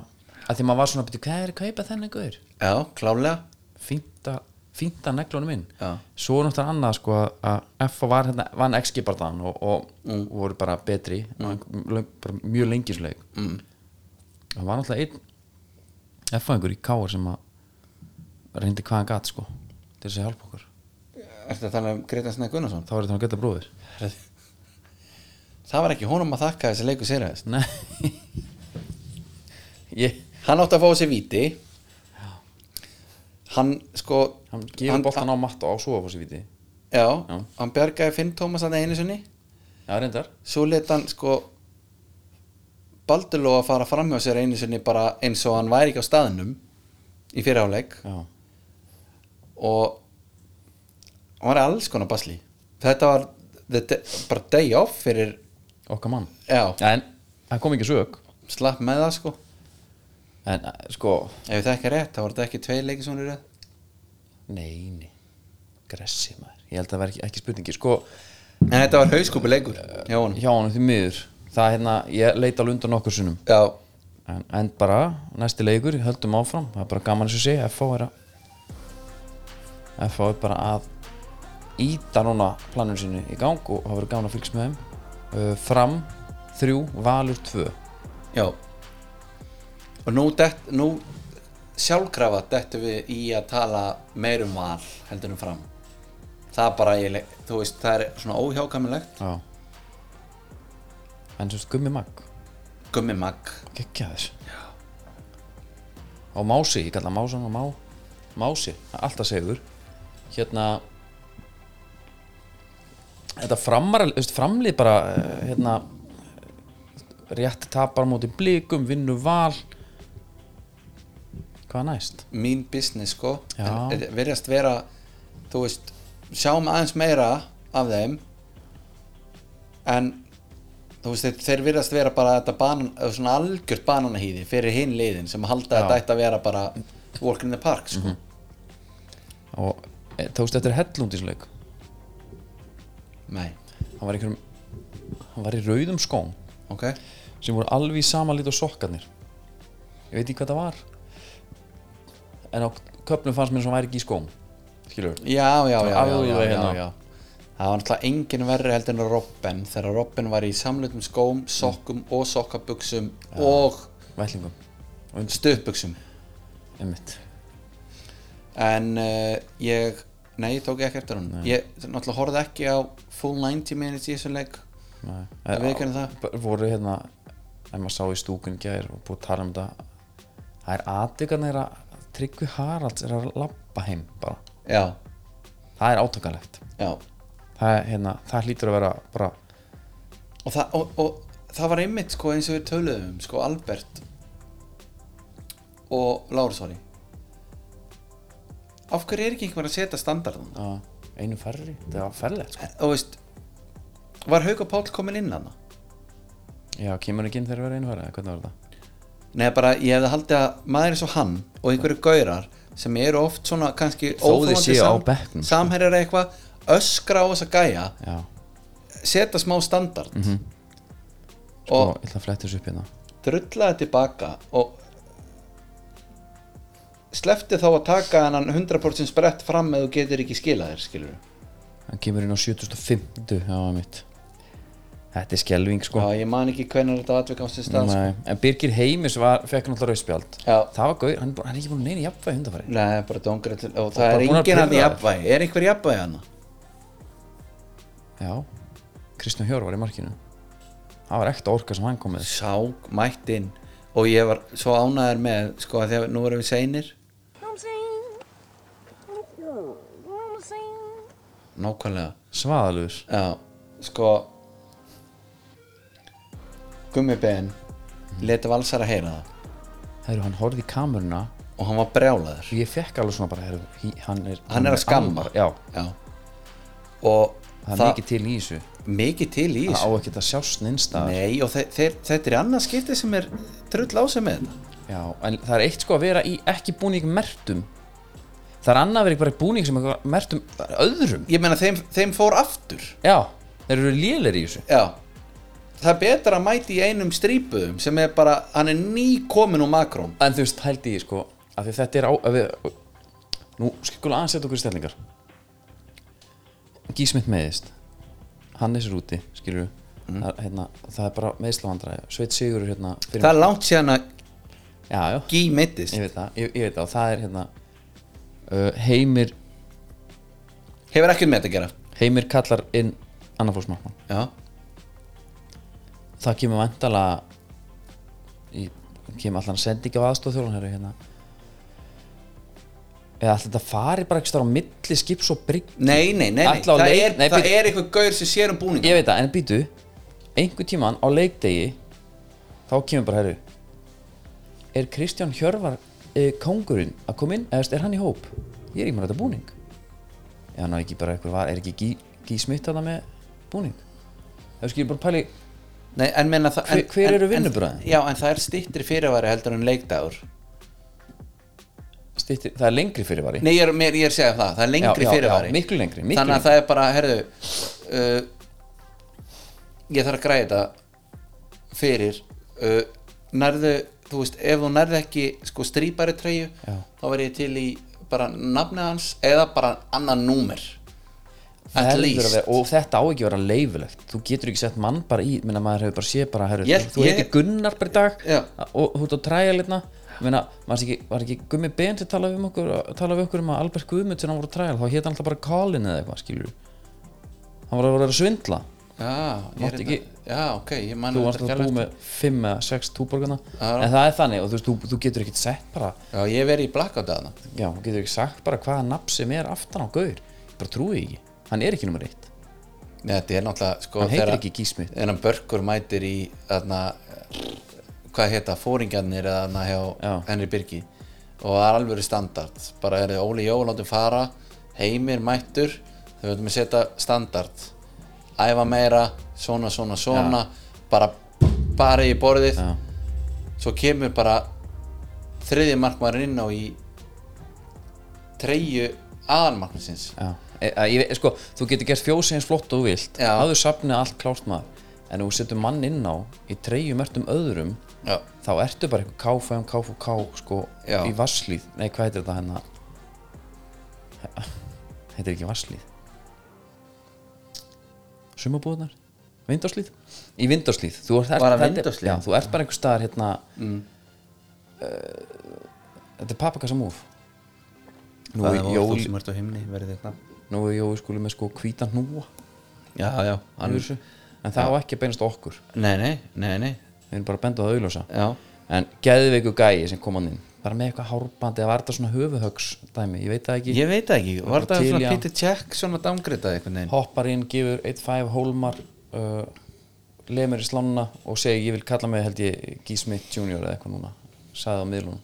S1: að Því maður var svona, betur, hvað er að kaupa þennan guður?
S2: já, klálega
S1: fínta, fínta neglunum inn
S2: Já.
S1: svo er náttúrulega annað sko að F var hérna, vann XG barðan og, og voru bara betri löng, bara mjög lengisleik mm. það var náttúrulega einn F-fæðingur í Káar sem að reyndi hvað hann gat sko til þess að hjálpa okkur,
S2: Ertu að tala um Gretan Snæð Gunnarsson?
S1: þá er þetta hann geta bróðir
S2: Það var ekki honum að þakka þessi leiku sérhæðist
S1: nei ég,
S2: Hann átti að fá sér víti Hann sko
S1: hann gefur boltan á matt og á svo á þessi viti,
S2: já,
S1: Já.
S2: hann bjargaði Finn Tómas að einu sinni
S1: já reyndar
S2: Svo let hann sko Baldurló að fara framhjá sér einu sinni bara eins og hann væri ekki á staðnum í fyrirháleik
S1: já,
S2: og hann var í alls konar basli Þetta var the day- bara day off fyrir
S1: okkar mann
S2: já,
S1: en það kom ekki sög
S2: slapp með það sko
S1: en eh, sko,
S2: Ef það ekki er rétt, þá var þetta ekki tvei leikir svona röð
S1: Nei, nei Gressi maður, ég held að það verði ekki, ekki spurningi Sko,
S2: En þetta var hauskúpi leikur hjá honum
S1: hjá honum því miður Það er hérna, ég leita alveg undan nokkur sunnum
S2: Já,
S1: en, en bara, næsti leikur, höldum áfram Það er bara gaman eins og sé, FH er að FH er bara að Íta núna planinu sinni í gang Og það verður gaman að fylgst með þeim uh, Fram, þrjú, valur, tvö
S2: já Og nú, dett, nú sjálfkrafa dettu við í að tala meir um val heldur en fram Það er bara, ég, þú veist, það er svona óhjákamilegt
S1: Já En svo gummi magg
S2: Gummi Magg
S1: geggjaðir og Mási, ég kalla hann Másan og Má Mási, alltaf segur hérna þetta framar framlið bara eh, hérna rétt tapar móti blikum, vinnu val hvað næst?
S2: Mín business sko
S1: Já.
S2: En verðast vera, þú veist, sjáum aðeins meira af þeim En þú veist, þeir- þeir verðast vera bara þetta banan, eða svona algjört bananahýði fyrir hinn liðin sem halda að þetta ætti að vera bara walk in the park sko.
S1: og e, tókst eftir hellundisleik
S2: Nei,
S1: hann var, í einhverjum, hann var í rauðum skóm
S2: ok
S1: sem voru alveg í sama lit og sokkarnir ég veit ekki hvað það var en á köpnum fannst mér sem hann væri ekki í skóm skilur
S2: Já, já, já, já,
S1: Alveg
S2: já, já,
S1: hérna.
S2: já. Það var náttúrulega engin verri heldur en Robben þegar Robben var í samlutum skóm, sokkum og sokkabuxum og
S1: vellingum,
S2: stöpbuxum
S1: einmitt
S2: en uh, ég nei, ég tók ekki eftir hann ég náttúrulega horfði ekki á full 90 minutes í þessum leik
S1: Nei.
S2: Ég viðurkenni það.
S1: B- voru hérna ef maður sá í stúkun gær og búið að tala um þetta það er aðvikarna er að Tryggvi Haralds er að labba heim bara,
S2: já,
S1: það er átökanlegt
S2: já
S1: það, er, hérna, það hlýtur að vera bara
S2: og það, og, og það var einmitt sko eins og við töluðum um, sko Albert og Lárus Hóri af hverju er ekki einhver að setja standardum
S1: uh, einu færri, það var færlegt sko.
S2: þú veist var Hauka Páll komin inn hana
S1: Já, kemur ekki inn þegar verið innfæra, hvernig var þetta?
S2: Nei, bara ég hefði haldið að maður eins og hann og einhverju gaurar sem eru oft svona kannski
S1: Þó þeir séu á bekknum, sko.
S2: samherjar eitthvað öskra á þessa gæja
S1: Já,
S2: setja smá standard
S1: Mhm. sko,
S2: og
S1: ég ætla að fletta þessu upp hérna
S2: drulla þetta tilbaka og slefti þá að taka hennan 100% sprett fram eða þú getur ekki skilað þér skilur
S1: Sko. Hann kemur inn á 7050, já, mitt Þetta er skelving, sko
S2: Já, ég man ekki hvenær þetta atvik á sér stað sko.
S1: Nei, En Birgir Heimis var, fekk náttúrulega rauðspjald
S2: Já,
S1: Það var gauð, hann, er bara- hann er ekki búin að neina jafnvæði hundafæri
S2: Nei, bara dóngrið til og
S1: bara
S2: það er
S1: búin að
S2: enginn hann í
S1: pirra þær.
S2: jafnvægi, er einhver í jafnvægi hann?
S1: Já, Kristján Hjór var í markinu Það var ekta orka sem hann kom með
S2: Sá, mættinn og ég var svo ánæður með sko að þegar nú erum við seinir
S3: You know what I'm saying? You know what I'm saying?
S2: nákvæmlega,
S1: Svaðalugur
S2: já, sko gummibein
S1: Mhm.
S2: leti valsar að heyra það
S1: Herru, hann horfði í kameruna
S2: og hann var brjálaður
S1: og ég fekk alveg svona bara, herru, hí- hann er
S2: hann er að skamma
S1: alvar- Já,
S2: já. og
S1: það er mikið til í þessu
S2: mikið til í
S1: Það á
S2: þessu
S1: ekki að sjást nynstaðar
S2: Nei, og þe þeir, þetta er annað skipti sem er trull á sig með þetta
S1: Já, en það er eitt sko að vera í ekki búning mertum Það er annað að vera í bara í búning sem er mertum öðrum
S2: ég meina þeim, þeim fór aftur
S1: Já, þeir eru lélir í þessu
S2: já það er betra að mæti í einum strípuðum sem er bara, hann er ný komin úr makrón
S1: En þú veist, hældi ég sko að því þetta er á að við, Nú, skikkulega aðeins setja okkur í stellingar Gísmynd meðist Hannes er úti, skilur það, er, hérna, það er bara meðslavandræði Sveit Sigur er hérna fyrir-
S2: það er langt síðan að
S1: Já, já,
S2: gí meittist
S1: ég veit það, ég, ég veit það og það er hérna uh, Heimir,
S2: hefur ekkert með þetta að gera
S1: Heimir kallar inn annar fólksmarkmann
S2: já,
S1: það kemur vantalega ég kemur allan að senda ekki á aðstof þjólanherri hérna eða alltaf þetta fari bara ekki stáð á milli skip svo brygg
S2: nei, nei, nei, nei.
S1: Ætla á
S2: það,
S1: leik-
S2: er,
S1: nei,
S2: það
S1: bíddu.
S2: er eitthvað gaur sem sér um búninga
S1: ég veit það, en býtu einhver tíman á leikdegi þá kemur bara herru er Kristján Hjörvar e, kongurinn að koma inn, eða þú veist, er hann í hóp ég er ekki með þetta búning eða ná ekki bara eitthvað var, er ekki gí, gí smitt þarna með búning ef skilur bara pæli
S2: nei, en menna það
S1: Hver-
S2: en-
S1: hver
S2: en-
S1: eru
S2: en-
S1: vinnubrögðin?
S2: já, en það er stittri fyrirværi heldur en leikdagur
S1: stýttir, það er lengri fyrirvari
S2: nei, ég er, mér, ég er að segja það, það er lengri
S1: Já, já, já,
S2: fyrirværi
S1: miklu lengri, miklu
S2: þannig að það er bara, herðu uh, ég þarf að græða þetta fyrir uh, nærðu, þú veist, ef þú nærðu ekki sko strýpari treyju
S1: Já.
S2: þá verð ég til í bara nafnið hans eða bara annan númer
S1: Það
S2: at
S1: heldur að
S2: least
S1: vera- og þetta á ekki að vera leifilegt þú getur ekki sett mann bara í minna maður hefur bara séð bara herru,
S2: Ég-
S1: þú
S2: ég-
S1: heitir Gunnar bara í dag
S2: Já.
S1: og þú ert á træjalirna minna, maður sé ekki, var ekki Gummi Ben sem talaði við um okkur, talaði við okkur um að Albert Guðmund sem hann voru á træjal, þá hétt hann alltaf bara Colin eða eitthvað skilur hann var að vera að svindla
S2: já, ég er
S1: Mátti ekki-
S2: þetta- já, ok, ég
S1: hérna. þú
S2: man þetta
S1: varst
S2: ekki
S1: að
S2: alveg
S1: bú með 5 eða 6 túborgana
S2: Já.
S1: en það er þannig og þú, veist, þú, þú getur ekki sett bara
S2: eftir. já, ég verið í blackout að það
S1: já, þú getur ekki sagt bara hvaða nafn sem er aftan á gaur, ég bara trúi því ekki hann er ekki nummer 1,
S2: þetta er náttúrulega sko,
S1: hann heitir
S2: þegar-
S1: ekki Gísmynd
S2: en hann börkur mætir í þarna, hvað heita, fóringjarnir eða þarna hjá
S1: Já.
S2: Henry Birgi og það er alveg standard bara er þið Óli Jó, látum fara heimir mættur, þau veitum að setja standard, æfa meira svona, svona, svona bara barið í borðið
S1: Já.
S2: svo kemur bara þriðji markmaður inn á í treyju aðalmarkmarsins
S1: Já, e, e, ég, veit- sko, þú getur gert fjósi eins flott og þú vilt
S2: Já.
S1: hafðu safnið allt klárt maður en ef þú setur mann inn á í treyjum mertum öðrum
S2: já,
S1: þá ertu bara eitthvað káfæm, káfú, ká sko,
S2: Já.
S1: í vasslíð, nei hvað heitir þetta hennar heitir ekki vasslíð sumabúðnar vindorslíð, í vindorslíð þú ert,
S2: Bara
S1: þetta er-
S2: Vindórshlíð?
S1: já, þú ert bara einhver staðar hérna mm. þetta er pappakassa múf nú er jól
S2: sem ert á himni, verði þetta
S1: nú er Jói skúli með sko hvítan hnúa
S2: já, já,
S1: yfir þessu. en það á ekki að beinast að okkur
S2: Nei, nei, nei, nei
S1: við erum bara að benda á það auðljósa
S2: Já,
S1: en geðveiku gæi sem kom hann inn bara með eitthvað hárbandi eða var þetta svona höfuhögs dæmi, ég veit það ekki
S2: ég veit það ekki, var
S1: Til,
S2: það
S1: já.
S2: svona Peter Jack svona dámgrita eitthvað neginn
S1: hoppar inn, gefur 1-5 hólmar uh, lemur í slánuna og segir ég vil kalla mig held ég G. Smith Jr. eða eitthvað núna sagði á miðlunum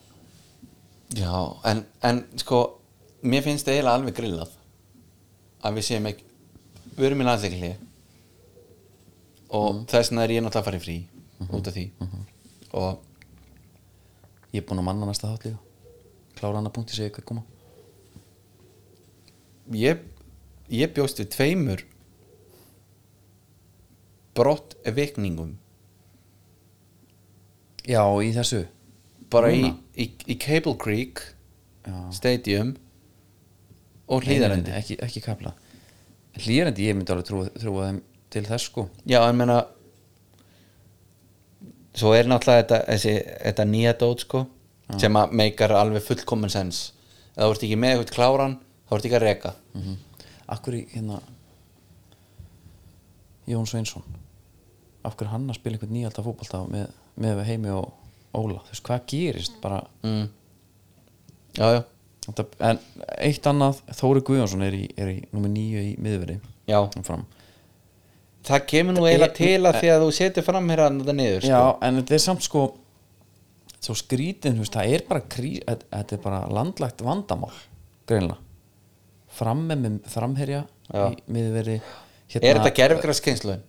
S2: Já, en, en sko mér finnst það eiginlega alveg grillað að við séum Mhm. ekki við erum í landsleikli og þess vegna er ég náttúrulega að fara í frí út af því og
S1: Ég er búinn að manna næsta þátt líka Klára hana punkti segja hvað koma
S2: ég, ég bjóst við tveimur brott vikningum
S1: Já, í þessu
S2: bara í,
S1: Núna?
S2: í, í Cable Creek
S1: Já.
S2: Stadium og hlýðarendi
S1: Nei, Ekki, ekki kapla Hlýðarendi, ég myndi alveg trúa, trúa þeim til þess sko
S2: já en meina svo er náttúrulega þetta, þessi, þetta nýja dót sko sem að meikar alveg fullkommen sens eða þú ert ekki með eitthvað kláran þá ert ekki að reka
S1: mm -hmm. Akkur í hérna Jón Sveinsson af hverju er hann að spila einhvern nýjaldar fótbolta með, með heimi og Óla þú veist hvað gerist bara
S2: mm. já já
S1: Þetta- en eitt annað Þóri Guðjónsson er í, er í nummer nýju í miðveri
S2: Já.
S1: fram.
S2: það kemur nú eiginlega til að því að þú setur fram hér að þetta niður sko.
S1: já en þetta er samt sko svo skrítin þú veist, það er bara krí, þetta þetta er bara landlægt vandamál greinlega framme með framherja
S2: Já.
S1: í miðveri
S2: er þetta gerfgraskynslun?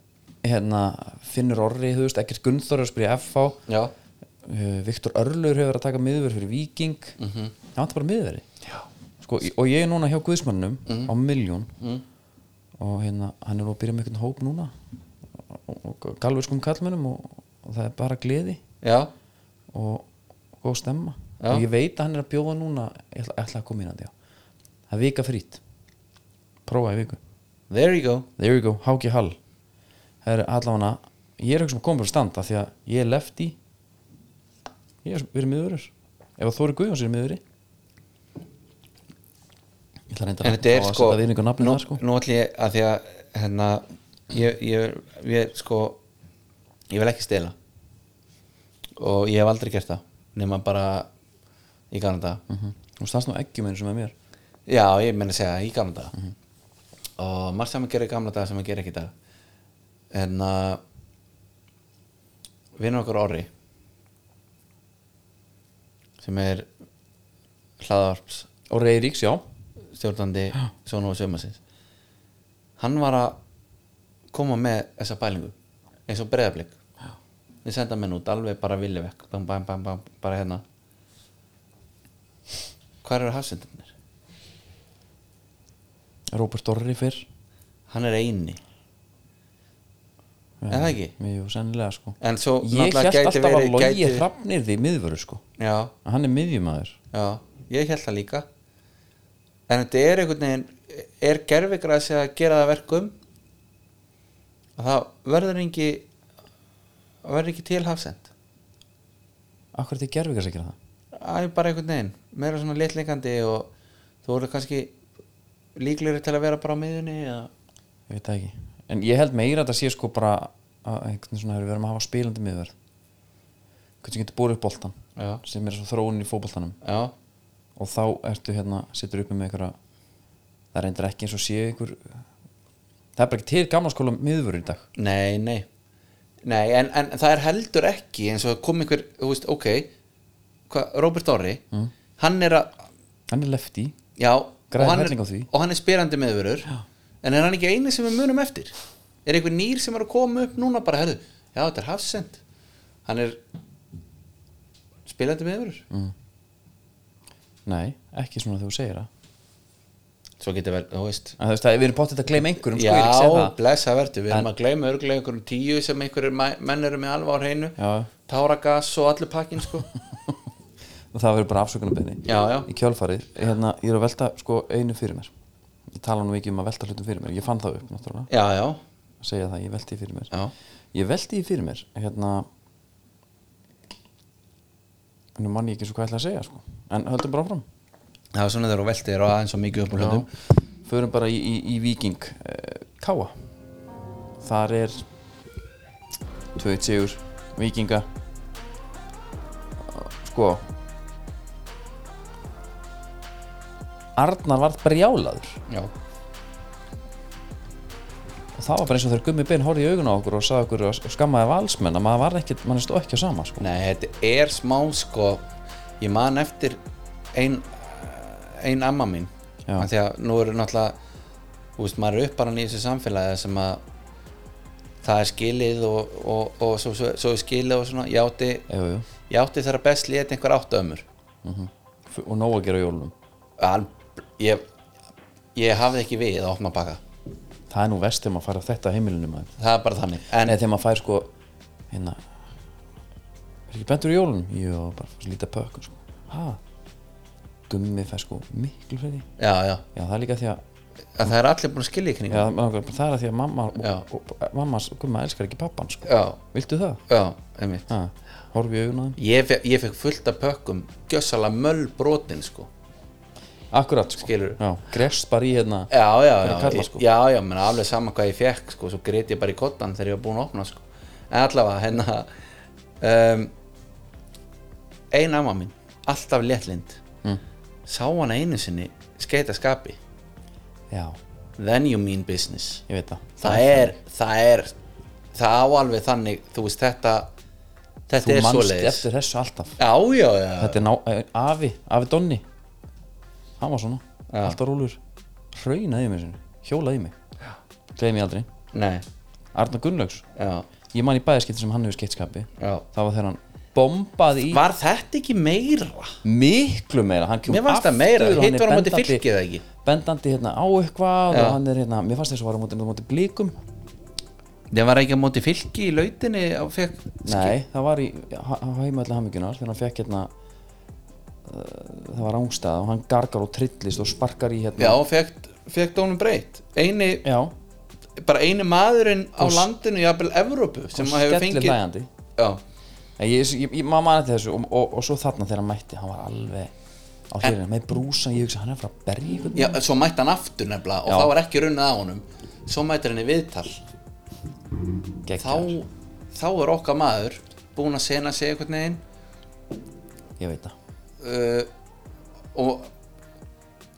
S1: hérna, Finnur Orri, þú veist, ekkert Gunnþór er að spila í FH
S2: já,
S1: uh, Viktor Örlur hefur verið að taka miðverð fyrir Viking mm -hmm. það vantar bara miðverði sko, í- og ég er núna hjá Guðsmannum á miljón og hérna, hann er nú að byrja með einhvern hóp núna og, og galvöskum kallmönnum og, og það er bara gleði
S2: já,
S1: og, og góð stemma
S2: Já.
S1: og ég veit að hann er að bjóða núna ég ætla, ég ætla að koma inn að því það er vika frýtt prófa í viku
S2: there you go
S1: There you go, Háki Hall Það er allavega Ég er ekki sem að koma fyrir standa Því að ég er lefti Ég er verið miðurur Ef að Þóri Guðjóns er miðuri Ég ætla reynda
S2: en þetta er sko,
S1: Það er einhver nafnið
S2: nú,
S1: það sko
S2: nú ætlum ég að því að hérna ég, ég, ég sko ég vil ekki stela og ég hef aldrei gert það nema bara í Kanada
S1: Mhm. Þú stannst nú ekki með einu sem er mér
S2: já, ég meina að segja í Kanada og margt sem að gera í gamla dag sem að gera ekki í dag en að vinur okkur orri sem er hlaðarps
S1: Og Reyríks, já
S2: stjórnandi svona og sömarsins hann var að koma með þessa bælingu eins og breyðablík við senda menn út alveg bara vilja vekk bam, bam, bam, bam, bara hérna hvar eru hafsendarnir?
S1: Róbert Orri fyrr
S2: hann er eini Er það ekki?
S1: Jú, sennilega sko
S2: En svo
S1: Ég
S2: náttúrulega
S1: held
S2: gæti
S1: alltaf að
S2: verið-
S1: logi
S2: gæti-
S1: gæti... hrafnir því miðvöru sko
S2: já,
S1: Hann er miðjumæður
S2: já, ég held það líka en þetta er einhvern veginn er gerfigræs að gera það verkum að það verður ekki verður ekki til hafsend
S1: Akkur þetta er gerfikars að gera það
S2: Það er bara einhvern veginn, meira svona léttlingandi og þú voru kannski líklegri til að vera bara á miðunni eða...
S1: ég veit það ekki en ég held meira að það sé sko bara að einhvern svona við erum að hafa spilandi miðverð hvernig sem getur búið upp boltan
S2: Já.
S1: sem er svo þróun í fótboltanum
S2: Já,
S1: og þá ertu hérna, sittur uppi með einhverja það reyndir ekki eins og sé einhver það er bara ekki til gamla skóla miðvörð í dag
S2: nei, nei Nei, en, en það er heldur ekki eins og kom einhver, þú veist, ok hva, Robert Orri, hann er að
S1: hann er lefti
S2: já, og
S1: Mm. Græðir
S2: hann, er,
S1: helling á því.
S2: og hann er spyrandi meðvörur en er hann ekki eini sem við munum eftir er einhver nýr sem er að koma upp núna bara, herðu, já, þetta er hafsend hann er spilandi meðvörur
S1: Mm. nei, ekki svona þegar þú segir það
S2: svo getur vel, þú veist
S1: en þú veist að við erum báttið að gleyma einhverjum sko, ég er ekki að segja
S2: Já,
S1: það.
S2: blessa verður, við erum að gleyma örglega einhverjum tíu sem einhverjum menn eru með alveg á hreinu
S1: Já.
S2: táragas og allir pakkin sko
S1: og það verður bara afsökunarbeini
S2: Já, já.
S1: í kjálfarið, hérna, ég er að velta sko einu fyrir mér ég tala nú ekki um að velta hlutum fyrir mér ég fann það upp, náttúrulega
S2: Já, já,
S1: að segja það, ég velti því fyrir mér
S2: Já.
S1: ég velti því fyrir mér hérna nú mann ég ekki svo hvað ég ætla að segja sko. en höldum bara áfram
S2: það var svona þegar þú veltir og aðeins og mikið upp á hlutum
S1: Já. Hérna, förum bara í, í, í Viking eh, Káa þar er 2-1 sigur Vikinga sko Arnar varð brjálaður
S2: Já,
S1: og það var bara eins og þegar Gummi Ben horfði í augun á okkur og sagði okkur og og skammaði valsmenn að maður var ekkert, maður stóð ekki á sama sko.
S2: nei, þetta er smá sko ég man eftir ein, ein amma mín
S1: Já.
S2: af því að nú eru náttúrulega þú veist, maður er uppar hann í þessu samfélagi sem að það er skilið og, og, og svo, svo, svo er skilið og svona ég átti,
S1: jú, jú.
S2: ég átti þegar best lét einhver áttu ömur
S1: F- og nóg að gera á jólunum
S2: Al, ég, ég hafði ekki við að opna baka
S1: það er nú vest þegar maður fær á þetta heimilinu maður.
S2: það er bara þannig en
S1: en eða þegar maður fær sko hérna er ekki bentur í jólunum? Jú, bara fannst lítið pökkun sko. ha, gummi fær sko miklu fyrir því
S2: já, já,
S1: já, það er líka því að
S2: að það er allir búin að skilja í kring
S1: já, mig langar bara- það er að því að mamma
S2: Já.
S1: og, og, mamma og gumma elskar ekki pappan sko.
S2: já,
S1: viltu það?
S2: já, einmitt
S1: Ha, horfi í augun á þeim
S2: ég, fe- ég fekk fullt af pökkum gjössalega möllbrotin sko
S1: akkurat sko,
S2: Skilurðu?
S1: já, grest bara í hérna
S2: já, já,
S1: Fyrir
S2: já,
S1: kalla,
S2: ég-
S1: sko.
S2: já, já, menn alveg sama hvað ég fekk sko, svo grét ég bara í kottan þegar ég var búinn að opna sko. en allavega, hérna um, ein amma mín alltaf léttlind
S1: Mm.
S2: sá hana einu sinni skeita skapi
S1: já,
S2: then you mean business
S1: ég veit það
S2: það er, það er það á alveg þannig, þú veist þetta þetta
S1: þú
S2: er
S1: manst
S2: svoleiðis
S1: eftir þessu alltaf
S2: já, já, já,
S1: þetta er ná, eh, afi, afi Donni hann var svona,
S2: Já.
S1: alltaf rólur hrainaði mér sinni, hjólaði mig gleymi ég aldrei,
S2: nei
S1: Arna Gunnlaugs
S2: já,
S1: ég man í bæðiskipti sem hann hefur skeitt skapi
S2: já
S1: það var þegar hann bombaði í
S2: var þetta ekki meira?
S1: miklu meira, hann kemur
S2: mér fannst það meira,
S1: og hann
S2: hitt
S1: er
S2: var á móti
S1: bendandi-
S2: fylkið ekki
S1: bendandi hérna á eitthvað
S2: Já.
S1: og hann er hérna, mér fannst þess að var á móti, á móti blíkum
S2: Það var ekki á móti fylki í lautinni og fekk
S1: nei, það var í heimöldi hamingunar þegar hann fekk hérna uh, það var ángstað og hann gargar og trillist og sparkar í
S2: Já,
S1: hérna
S2: fekk, fekk dónum breytt eini,
S1: já
S2: bara eini maðurinn á
S1: Og s-
S2: landinu, jafnvel Evrópu sem hefur
S1: skellir
S2: fengið
S1: hlægandi
S2: Já,
S1: Ég, ég, ég, ég maður manið þessu og, og, og svo þarna þegar hann mætti, hann var alveg á hlýrinu, með brúsa, ég hugsa hann er frá að berja ykkur
S2: já, svo mætti hann aftur nefnilega og
S1: Já.
S2: þá var ekki runnið á honum svo mættir hann í viðtal þá, þá er okkar maður búinn að sena sig einhvern veginn
S1: ég veit það,
S2: uh, og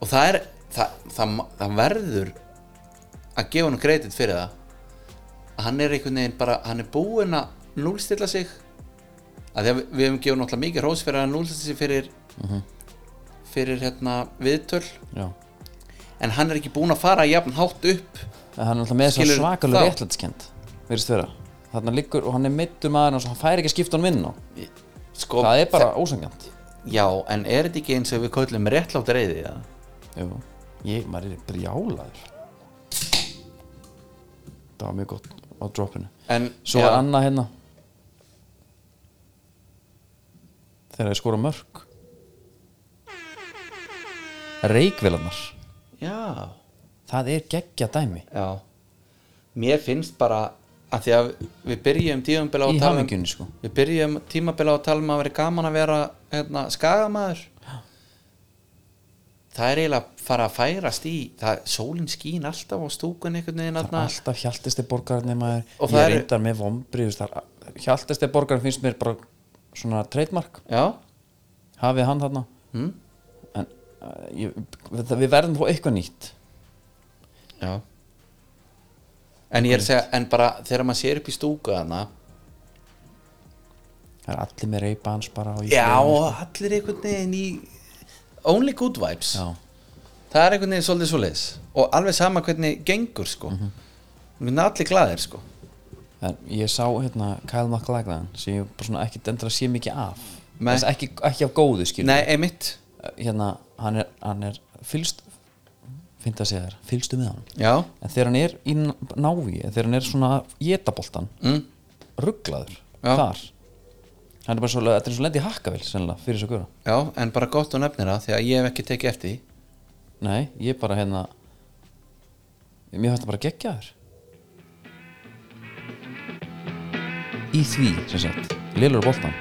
S2: og það er það, það, það verður að gefa hann kredit fyrir það að hann er einhvern veginn bara hann er búinn að núlstilla sig að því að við, við hefum gefið náttúrulega mikið hrós fyrir að hann núlstilla sig fyrir Mhm. fyrir hérna viðtöl
S1: já
S2: en hann er ekki búinn að fara jafn hátt upp
S1: en hann er alltaf með þess
S2: Skilur
S1: að svakalega
S2: þá?
S1: réttlætiskend verðist vera, þarna liggur og hann er mittur maður og hann fær ekki að skipta hann vinn á
S2: sko,
S1: það er bara ósangjant
S2: já, en er þetta ekki eins og við köllum réttlátt reyði ja?
S1: Jú, ég, maður er brjálaður það var mjög gott á droppinu
S2: en
S1: svo
S2: já,
S1: var annað hérna þegar ég skora mörg reikvélarnar
S2: já
S1: það er geggja dæmi
S2: Já Mér finnst bara að því að við byrjum tímabila á
S1: í
S2: að tala um
S1: hamingjunni sko
S2: Við byrjum tímabila á að tala um að vera gaman að vera hérna, skagamaður Það er eiginlega fara að færast í það, sólin skín alltaf á stúkun einhvern veginn
S1: það er
S2: þarna.
S1: alltaf hjaltist er borgarinn maður,
S2: Og
S1: ég
S2: það eru-
S1: reyndar með vombri hjaltist er borgarinn finnst mér bara svona trademark,
S2: Já,
S1: hafið hann þarna
S2: Mm.
S1: en uh, ég, við, við verðum þó eitthvað nýtt
S2: já En ég er að segja, en bara þegar maður sér upp í stúku þarna
S1: það er allir með reipans bara á
S2: Já,
S1: íbúðinni.
S2: og allir einhvern veginn í Only good vibes
S1: já,
S2: það er einhvern veginn svolítið svoleiðis og alveg sama hvernig gengur sko mm -hmm. allir glaðir sko
S1: En ég sá hérna Kyle MacLachlan sem ég bara svona ekkert endur að sé mikið af
S2: Nei.
S1: Þess, ekki, ekki af góðu skil
S2: nei, einmitt,
S1: hérna, hann er, hann er fylgst finn það að segja þér, fylgstu með hann
S2: já
S1: en þegar hann er í n- návi þegar hann er svona getaboltan
S2: mm.
S1: rugglaður
S2: Já.
S1: þar hann er bara svo, þetta er svo lendi hakkavel sennilega fyrir þess að gura
S2: já, en bara gott og nefnir það því að ég hef ekki tekið eftir því
S1: nei, ég bara hérna mér fannst það bara geggja þér í því sem sagt, lélur boltan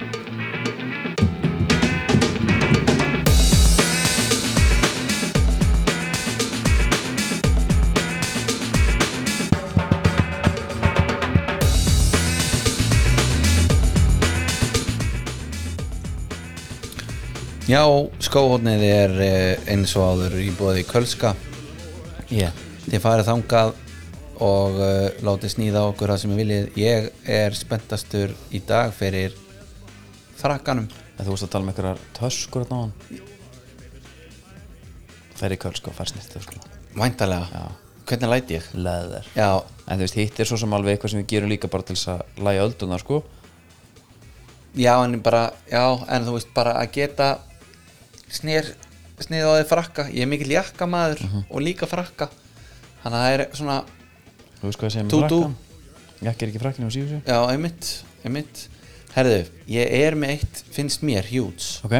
S2: já, skóhóðnið er eh, eins og áður í búið í Kölska
S1: yeah.
S2: þið farið þangað og uh, látið sníða okkur það sem ég viljið ég er spenntastur í dag fyrir frakkanum
S1: En þú veist að tala um einhverjar töskur þarna á hann Ferri Köl sko, fær snirtið sko
S2: væntalega,
S1: Já.
S2: hvernig læti ég
S1: leðar
S2: já,
S1: en þú veist, hitt er svo sem alveg eitthvað sem við gerum líka bara til þess að læja öldunar sko
S2: já en bara já, en þú veist bara að geta snér, snið á því frakka ég er mikill jakka maður og líka frakka þannig að það er svona
S1: þú veist hvað ég segi með
S2: Tútú.
S1: frakkan jakki er ekki frakkin á síðu
S2: já, einmitt, einmitt herðu, ég er með eitt finnst mér hjúts
S1: ok,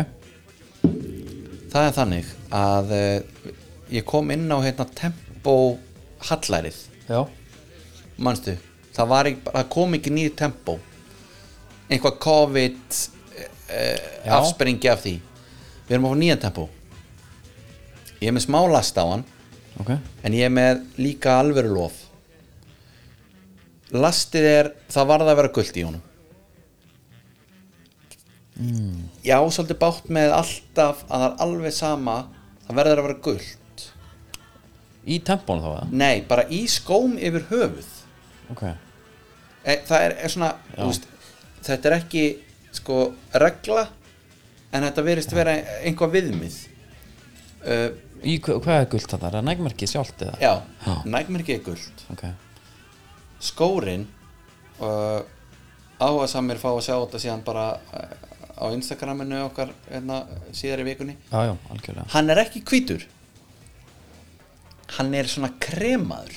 S2: það er þannig að uh, ég kom inn á hérna tempo hallærið
S1: já,
S2: manstu, það, var ekki, það kom ekki nýr tempo einhvað COVID uh,
S1: Já.
S2: afspringi af því við erum á nýjan tempo ég er með smá last á hann
S1: ok
S2: en ég er með líka alvöru lof lastið er það varð að vera guld í honum mm. já, svolítið bátt með alltaf að það er alveg sama það verður að vera guld
S1: í tempónu þá eða?
S2: nei, bara í skóm yfir höfuð
S1: ok,
S2: e, það er, er svona þú veist, þetta er ekki sko regla en þetta verist vera einhvað viðmið uh,
S1: í, hva- hvað er gult þetta? er það nægmarkið sjálft eða?
S2: já,
S1: Já.
S2: nægmerki er guld
S1: ok,
S2: skórin uh, áhuga samir fá að sjá þetta síðan bara uh, á Instagraminu okkar hérna, síðar í vikunni
S1: já, já, algjörlega
S2: hann er ekki hvítur hann er svona kremaður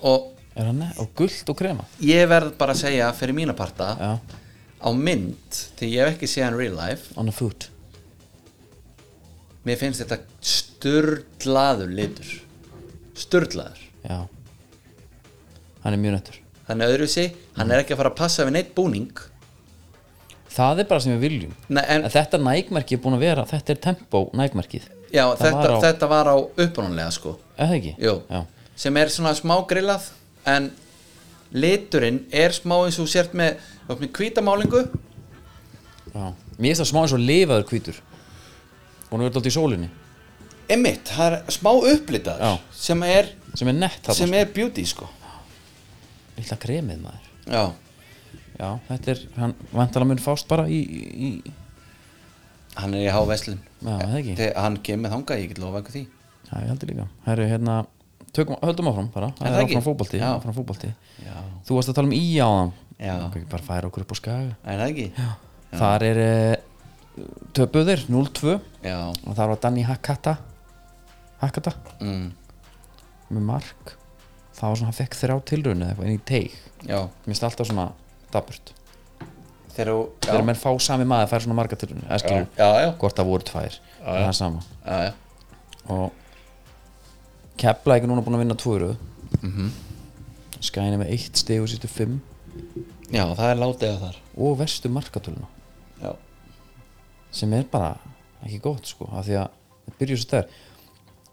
S2: og
S1: er hann, ne- og gult og krema
S2: ég verð bara að segja fyrir mína parta
S1: já,
S2: á mynd því ég hef ekki séð hann real life
S1: on the foot
S2: mér finnst þetta sturdlaður litur sturdlaður
S1: já hann er mjög nettur
S2: þannig að öðruvísi, hann er ekki að fara að passa við neitt búning
S1: það er bara sem við viljum
S2: Nei, en,
S1: en þetta nægmarkið er búin að vera þetta er tempó nægmarkið
S2: já,
S1: það
S2: þetta,
S1: var á-
S2: þetta var á upprónulega sko
S1: er það ekki?
S2: Jú.
S1: já,
S2: sem er svona smá grillað en liturinn er smá eins og þú sért með, þú ert með hvítamálingu
S1: já. mér finnst það smá eins og lifaður hvítur og nú er þetta alltaf í sólinni
S2: einmitt, það er smá upplitaður
S1: Já.
S2: sem er,
S1: sem er nett þarna
S2: sem er beauty sko
S1: lilla kremið maður
S2: já,
S1: já, þetta er, hann vantala mun fást bara í, í í-
S2: hann er í háveslun
S1: já, það ekki,
S2: hann kemur þangað, ég get lofa eitthvað því
S1: já, ég heldur líka herru, hérna, tökum, höldum áfram bara, það
S2: það
S1: er
S2: ekki?
S1: áfram fótbolti,
S2: Já.
S1: áfram fótbolti
S2: já,
S1: þú varst að tala um í áðan
S2: Já.
S1: Okkur, bara færa okkur upp á skaga
S2: er það ekki?
S1: já. þar er uh, töpuðir 0-2
S2: Já,
S1: og þar var Danny Hakata Hakata
S2: mm,
S1: með mark það var svona, hann fekk þrjá tilraunni eða eitthvað inn í teig
S2: já,
S1: mér finnst alltaf svona daburt
S2: þegar þú
S1: þegar menn fá sami maður að færa svona marga tilraunni eða
S2: já,
S1: skilur,
S2: já, já,
S1: hvort það voru tvær það er það sama
S2: já, já,
S1: og Keflæk er núna búin að vinna tvöru mm -hmm.
S2: Mhm.
S1: Skæni með eitt stegu sýttu fimm
S2: já, það er látið að þar
S1: og verstu markatöluna
S2: Já,
S1: sem er bara ekki gott sko af því að það byrjur svo þær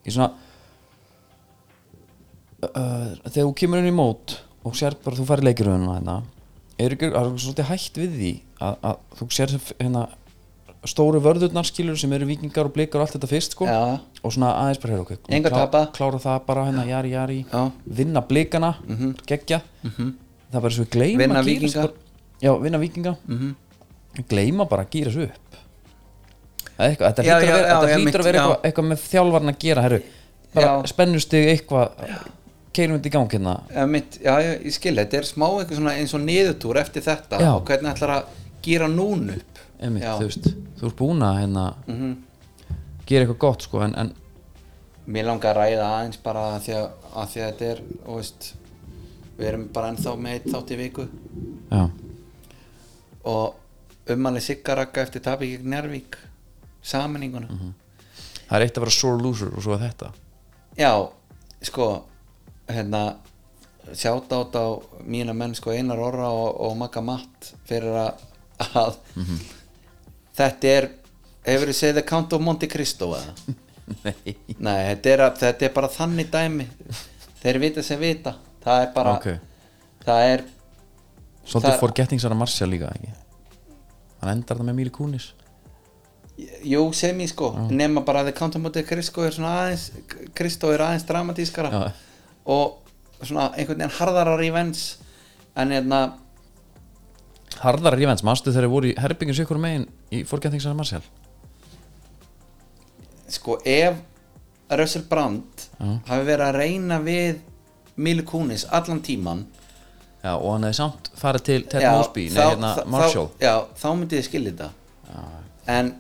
S1: í svona uh, þegar þú kemur inn í mót og sér bara þú færi leikiröðuna hérna er ekki er svolítið hægt við því að, að þú sér hérna stóru vörðurnar skilur sem eru vikingar og blikar og allt þetta fyrst sko
S2: já,
S1: og svona aðeins bara heyra okkur
S2: Engu að tapa.
S1: klára það bara hérna jari jari
S2: Já.
S1: vinna blikana, geggja það er bara svo við gleyma
S2: Mhm. Vinna
S1: að gíra
S2: Víkinga. Mhm.
S1: sig bara- já, vinna vikinga gleyma bara að gýra svo upp Það er eitthvað, þetta
S2: Já,
S1: hlýtur að
S2: já,
S1: vera,
S2: já,
S1: þetta
S2: já,
S1: hlýtur að vera
S2: mitt,
S1: eitthvað, eitthvað með þjálfarn að gera herru, bara
S2: Já.
S1: spennustið eitthvað keilum þetta í gang hérna
S2: já, mitt, já, já, ég skil, þetta er smá eitthvað svona eins og niðurtúr eftir þetta
S1: Já.
S2: og hvernig ætlar að gýra núna upp
S1: Einmitt,
S2: Já.
S1: þú veist, þú ert búin að hérna,
S2: Mhm.
S1: gera eitthvað gott sko en, en
S2: Mér langar að ræða aðeins bara að því að, að, því að þetta er, þú veist við erum bara ennþá með eitt þátt í viku
S1: já,
S2: og ummæli siggarakka eftir tapi gegn Njárvík samininguna
S1: það er eitt að vera sore loser og svo er þetta
S2: Já, sko hérna sjátt átt á mína menn sko Einar Orra og, og Magga Matt fyrir að, að
S1: Mhm.
S2: þetta er hefur þið segið The Count of Monte Cristo eða?
S1: Nei.
S2: Nei, þetta er, að, þetta er bara þannig dæmi þeir vita sem vita það er bara
S1: Ok.
S2: það er,
S1: Svolítið
S2: Það-
S1: það... forgetting Sara Marcia líka ekki Hann endar það með Míli Kúnis
S2: jú sem ég sko nema bara að The Count of Monte Cristo er svona aðeins Cristo er aðeins dramatískara
S1: Já.
S2: og svona einhvern veginn harðara revenge en hérna
S1: Harðar Rífens, manstu þegar þeir voru í herpingu sikkur megin í forgetting Sara Marcia
S2: sko ef Russell Brand
S1: Já.
S2: hafi verið að reyna við Mili Kunis allan tíman
S1: já, og hann hefði samt farið til Ted
S2: Já,
S1: Mosby, nei,
S2: þá-
S1: hérna
S2: þá-
S1: Marshall
S2: þá, Já, þá myndi ég skilja þetta En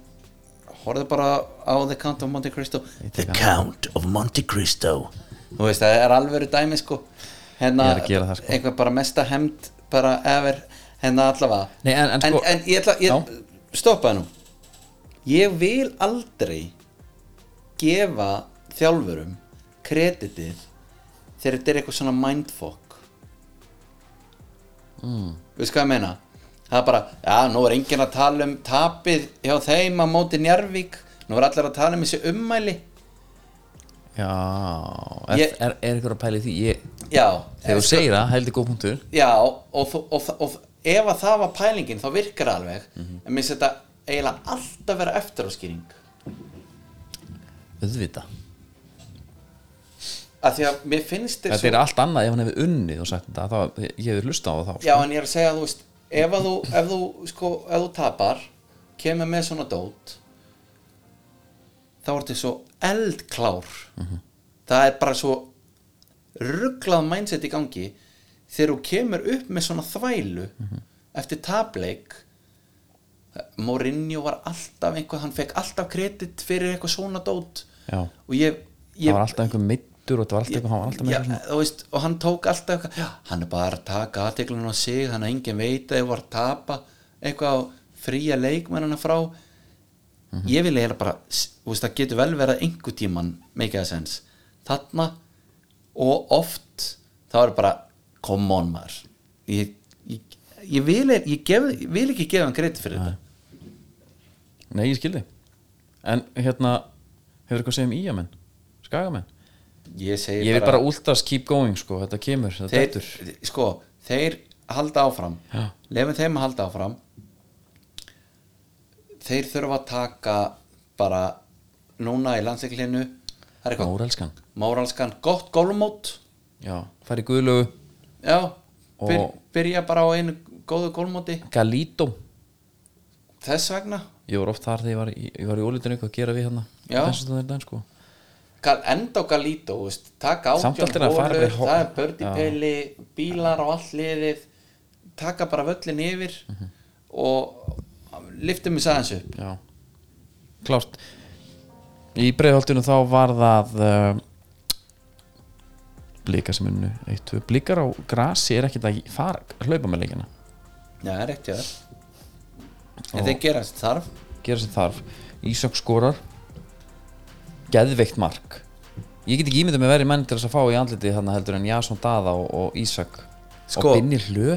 S2: horfðu bara á The Count of Monte Cristo
S1: tek hann.
S2: Count of Monte Cristo Þú veist, það er alvöru dæmi sko Hérna,
S1: Ég er að gera það, sko.
S2: einhver bara mesta hemd bara ever, hérna allavega
S1: Nei, en- en sko-
S2: en ég ætla, ég,
S1: Já.
S2: stoppaði nú Ég vil aldrei gefa þjálfurum kreditið þegar þetta er eitthvað svona mindfuck
S1: Hmm.
S2: Við sko að meina Það er bara, já, nú er enginn að tala um tapið hjá þeim að móti Njarvík Nú er allir að tala um þessi ummæli
S1: já, er,
S2: Ég-
S1: er, er ykkur að pæli því ég,
S2: Já,
S1: þegar
S2: eh,
S1: þú
S2: sko-
S1: segir það, heldur góð punktur
S2: Já, og, og, og, og, og ef að það var pælingin þá virkar það alveg
S1: Mhm.
S2: En mér finnst þetta eiginlega alltaf vera eftiráskýring
S1: auðvita,
S2: Af því að mér finnst þér
S1: þetta er allt annað ef hann hefði unnið og sagt þetta, þá, ég hefði hlusta á það þá sko.
S2: Já, en ég er að segja, þú veist, ef að þú, ef þú, sko, ef þú tapar, kemur með svona dót, þá ertu svo eldklár.
S1: Mhm.
S2: Það er bara svo rugglað mindset í gangi þegar þú kemur upp með svona þvælu
S1: Mhm.
S2: eftir tapleik. Mourinho var alltaf einhvað, hann fekk alltaf kredit fyrir eitthvað svona dót
S1: Já.
S2: og ég, ég
S1: það var alltaf einhver middur og það var alltaf einhver, hann var alltaf með
S2: Já,
S1: eitthvað svona
S2: þú veist, og hann tók alltaf eitthvað, "Já, hann er bara að taka aðteklun á sig hann er engin veit að ég var að tapa eitthvað á fría leikmennana frá
S1: Mhm.
S2: ég vil eiginlega bara s- þú veist, það getur vel verið að einhver tíman make a sense, þarna og oft þá er bara, come on maður ég, ég, ég, vil, ég, ég, gef, ég vil ekki gefa hann greiti fyrir þetta
S1: Nei, ég skildi En hérna, hefur eitthvað að segja um íjamenn? Skagamenn?
S2: ég segi
S1: Ég vil bara últast keep going sko, þetta kemur, þetta
S2: þeir,
S1: dættur
S2: sko, þeir halda áfram
S1: Já.
S2: lefum þeim að halda áfram þeir þurfa að taka bara núna í landsiklinu það er eitthvað
S1: Mórelskan
S2: móralskan gott gólmót
S1: Já, fari guðlögu
S2: já, byr,
S1: Og-
S2: byrja bara á einu góðu gólmóti
S1: Galító
S2: þess vegna
S1: Ég var oft þar þegar ég var í, ég var í ólítinu eitthvað að gera við hérna
S2: Já.
S1: Þess að það er sko
S2: Gal, enda á Galító, þú veist, taka
S1: Samt
S2: átjón
S1: aldrei að fara
S2: hólur,
S1: yfir hó-
S2: það er
S1: Já.
S2: bördipeili bílar á allt liðið taka bara völlin yfir
S1: Mhm.
S2: og liftum við sæðans upp
S1: Já, klárt Í breiðholtinu þá var það uh, Blika sem unnu 1-2 Blikar á grasi er ekkert að fara hlaupa með leikina
S2: Já, það er rétt, já En þeir gera þess þarf
S1: gera sem þarf Ísak skorar geðveikt mark ég get ekki ímyndað með verið menn til þess að fá í andliti þarna heldur en Jason Dada og, og Ísak
S2: Sko-
S1: og Binni Hlö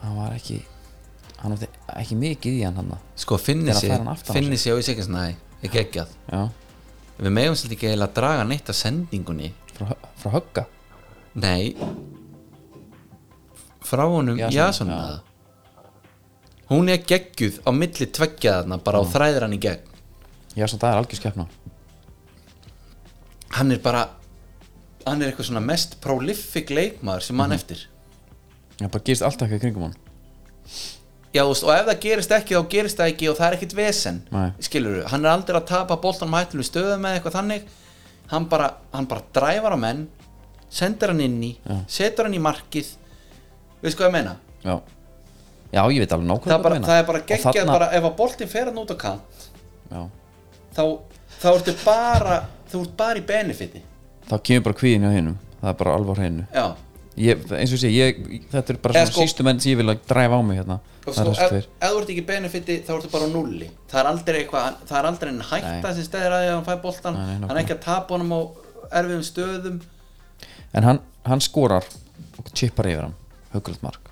S1: hann var ekki hann átti ekki mikið í hann hann
S2: Sko, finni
S1: Þegar
S2: sig,
S1: fær hann aftan á
S2: finni sig á Ísakins Næ er geggjað
S1: já,
S2: Við megum svolítið ekki eiginlega að draga neitt af sendingunni
S1: frá, hö- frá högga
S2: Nei Frá honum
S1: Jason,
S2: Jasona
S1: já.
S2: Hún er geggjuð á milli tveggjaðarna bara og þræðir hann í gegn
S1: Jason Dada er algjör skeppna
S2: Hann er bara Hann er eitthvað svona mest prolific leikmaður sem
S1: Mhm.
S2: hann eftir
S1: hann bara gerist alltaf eitthvað í kringum hann
S2: Já, þú veist, og ef það gerist ekki þá gerist það ekki og það er ekkit vesen
S1: Nei.
S2: skilur við, hann er aldrei að tapa boltanum hættilu stöðum með eitthvað þannig hann bara, hann bara dræfar á menn sendir hann inn í, setur hann í markið við sko að meina
S1: já, já ég veit alveg nákvæmlega hvað
S2: það er, bara,
S1: þú meinar.
S2: það er bara
S1: Og
S2: geggjað
S1: þarna-
S2: bara, ef að boltin fer hann út á kant
S1: já,
S2: þá, þá ertu bara þú ert bara í benefiti
S1: þá kemur bara kvíðin hjá hinnum það er bara alveg á hreinu
S2: já,
S1: ég, eins og sé, ég, þetta er bara
S2: Eða
S1: svona
S2: sko-
S1: sístu menn sem ég vil að dræfa á mig hérna það
S2: og sko,
S1: er
S2: ef,
S1: þessi tveir
S2: ef þú ert ekki í benefiti þá ertu bara á nulli það er aldrei eitthvað, það er aldrei en hætta
S1: Nei.
S2: sem stæðir að því að hann fæ boltan
S1: Nei, nei,
S2: hann er ekki að tapa honum á erfiðum stöðum
S1: en hann, hann skorar og chippar yfir hann höggulegt mark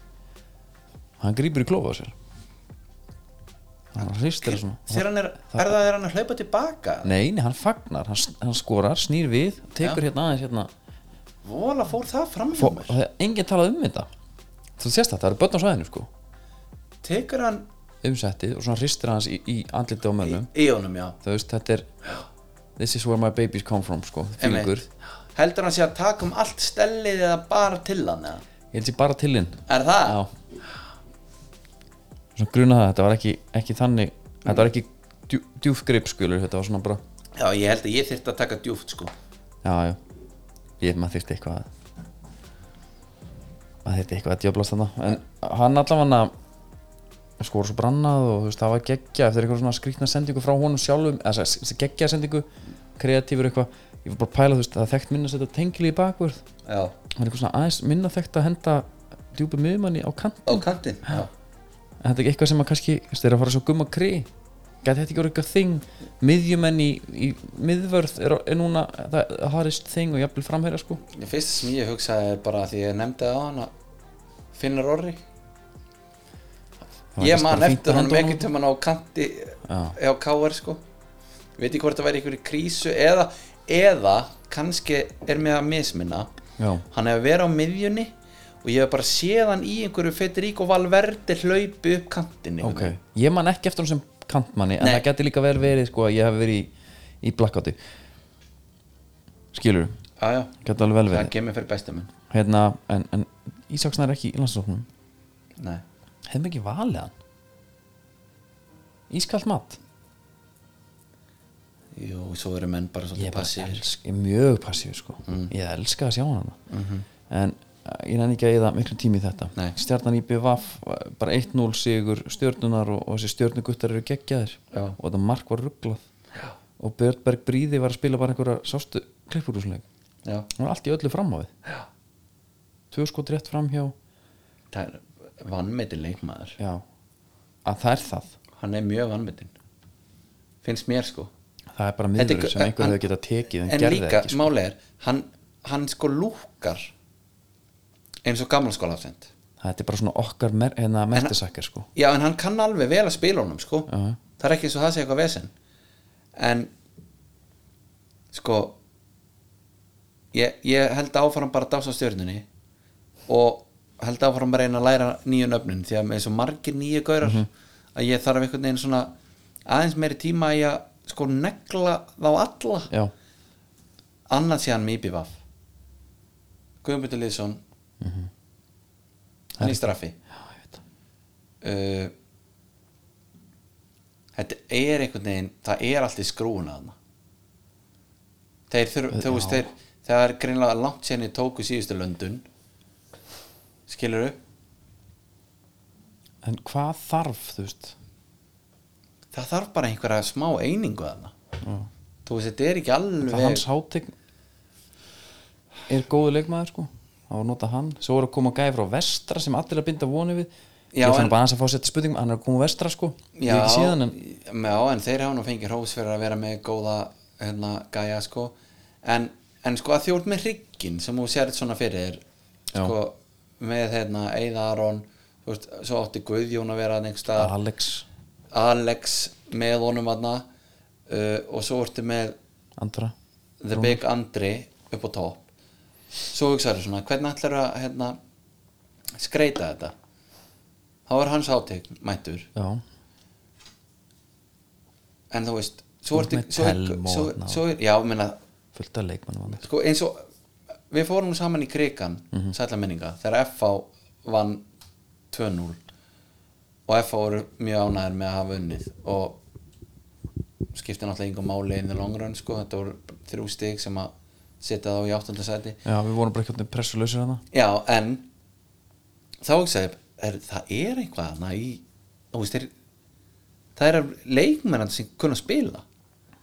S1: hann grýpur í klófa á sér hann hristir það svona
S2: þegar hann er, er það er hann að hlaupa tilbaka
S1: nei, nei, hann fagnar, hann, hann skorar, snýr við tekur hérna aðeins hérna
S2: vola fór það fram hjá
S1: Fó, og
S2: mér
S1: það er enginn talað um þetta þú sést þetta, það eru börn á svæðinu sko
S2: tekur hann
S1: umsettið og svona hristir hans í, í andliti á mönnum
S2: í honum já
S1: þú veist, þetta er this is where my babies come from sko,
S2: einmitt.
S1: fílingur
S2: heldur hann sé að taka um allt stellið eða bara til hann eða?
S1: ég held sér bara til hinn
S2: er það?
S1: Já Svona gruna það, þetta var ekki, ekki þannig Þetta var ekki djú, djúf grip skulur Þetta var svona bara
S2: já, ég held að ég þyrfti að taka djúft sko
S1: já, já ég maður þyrfti eitthvað að- maður þyrfti eitthvað að djöblast þarna en hann allavega skora svo brannað og þú veist, það var geggja eftir eitthvað svona skrýtna sendingu frá honum sjálfum eða þessi geggja sendingu kreatífur eitthvað, ég var bara að pæla þú veist að þekkt minna að setja tengli í bakvörð
S2: já,
S1: hann er eitthvað svona aðeins minna þekkt að henda djúpi miðmanni á kant
S2: á kantinn já,
S1: en þetta er ekki eitthvað sem að kannski þú veist, þeir eru að fara svo gumma kri gæti þetta ekki orðið eitthvað þing miðjumenn í, í miðvörð er, er núna það harist þing og jafnvel framherja sko
S2: Ég fyrst sem ég hugsaði er bara því ég nefndi það á hann að Finnur Orri
S1: Það var
S2: Ég
S1: kannski
S2: man
S1: bara fínt að
S2: eftir hann
S1: henda honum.
S2: meginn til hann á kanti
S1: Já.
S2: á KR sko Veit ekki hvort það væri ykkur í krísu eða, eða kannski er mér að misminna
S1: já,
S2: Hann hefur verið á miðjunni og ég hef bara séð hann í einhverju Federico Valverde hlaupi upp kantinni
S1: ok ég man ekki eftir hann sem kantmanni en
S2: Nei.
S1: það gæti líka vel verið sko að ég hef verið í, í blackouti skilur,
S2: Já, já,
S1: gæti alveg vel
S2: það
S1: verið
S2: kemur fyrir besta minn
S1: hérna, en, en Ísaksna er ekki í landsóknum
S2: Nei,
S1: hefðum ekki valið hann ískalt mat
S2: jú, svo eru menn bara
S1: ég
S2: svolítið
S1: er bara
S2: passífir
S1: elsk, ég er mjög passív sko.
S2: Mm.
S1: ég elska að sjá hana en uh, ég nenni ekki að eða miklu tími í þetta
S2: Mhm. Nei.
S1: stjarnan í BVF bara 1-0 sigur stjörnunar og, og þessi stjörnuguttar eru geggjaðir
S2: Já.
S1: og þetta mark var rugglað og Björnberg Bríði var að spila bara einhverja sástu klippurúsleik
S2: Já,
S1: hann var allt í öllu fram á við tvö skot rétt fram hjá
S2: það er vannmeti leikmaður
S1: já, að það er það
S2: hann er mjög vannmetinn finnst mér sko
S1: það er bara
S2: Þetta er
S1: miður
S2: gö-
S1: sem einhver
S2: hann-
S1: hefur getað tekið en,
S2: en
S1: gerði
S2: líka,
S1: ekki
S2: sko.
S1: sko.
S2: máli er hann, hann sko lúkar eins og gamla skólafsend
S1: þetta er bara svona okkar mer hérna, mertisakkar sko.
S2: já en hann kann alveg vel að spila honum sko
S1: Já.
S2: það er ekki eins og það sé eitthvað vesen en sko ég, ég held áfram bara að dása stjörnunni og held áfram bara að reyna að læra nýju nöfnin því að með svo margir nýju gaurar að ég þarf einhvern veginn svona aðeins meiri tíma í að sko negla þá alla
S1: já,
S2: annað sé hann með IBVF Guðmundur Lýðsson hann í straffi
S1: já, ég veit það
S2: uh, þetta er einhvern veginn það er allt í skrúuna þarna þeir þurfa þú veist þeir það er greinlega langt sérni tóku síðustu löndun skilur
S1: En hvað þarf, þú veist
S2: það þarf bara einhverja smá einingu þarna
S1: Já.
S2: þú veist þetta er ekki alveg
S1: Það hans hátegn er góðu leikmaður sko á að nota hann, svo er að koma gæði frá vestra sem allir er að binda vonu við
S2: Já,
S1: ég fann
S2: en-
S1: bara hans að fá að setja spurningum, hann er að koma úr vestra sko ég hef
S2: já,
S1: ekki síðan en
S2: já, en þeir hafa nú fengið hrós fyrir að vera með góða hérna, gæja sko en, en sko að þjóð með hrygginn sem þú sérð svona fyrir þér
S1: Já.
S2: sko, með hérna, Eða Aron þú veist, svo átti Guðjón að vera þarna einhvers staðar,
S1: Alex,
S2: Alex með honum aðna uh, og svo ertu með
S1: Andra
S2: The Big Andri upp á topp svo hugsaður svona, hvernig ætlar að hérna, skreita þetta þá er hans átegn mættur
S1: Já,
S2: en þú veist svo
S1: Þú ert
S2: ertu,
S1: með
S2: svo, er-
S1: Telmo
S2: svo,
S1: þarna og-
S2: svo, er- já, menna,
S1: fullt af leikmannum hann
S2: sko, eins og við fórum saman í krigan mm
S1: Mhm.
S2: sætla minninga, þegar FH vann 2-0 og FH voru mjög ánæður með að hafa unnið og skipti náttúrulega yngum máli in the long run sko, þetta voru þrjú stig sem að setja þá í áttundasæti
S1: Já, við vorum bara eitthvað pressulausir hann
S2: Já, en þá ekki segja, er, það er eitthvað hana í, þú veist, er, það er leikmennan sem kunna að spila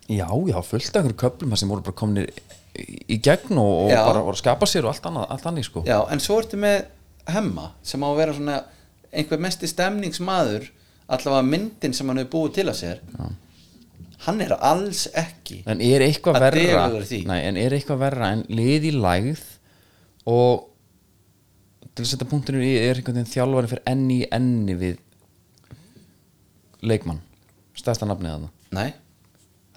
S1: Já, já, fullt af einhverjum köflum þar sem voru bara komnir í- í gegn og, og
S2: Já.
S1: bara voru að skapa sér og allt annað, allt annað sko
S2: Já, en svo ertu með Hemma sem á að vera svona einhver mesti stemningsmaður allavega myndin sem hann hefur búið til að sér Já. hann er alls ekki
S1: En er eitthvað
S2: Það
S1: verra
S2: dregur því.
S1: nei, En er eitthvað verra en lið í lægð og til að setja punktinu í er einhvern veginn þjálfari fyrir enni í enni við leikmann stærsta nafnið þarna
S2: Nei,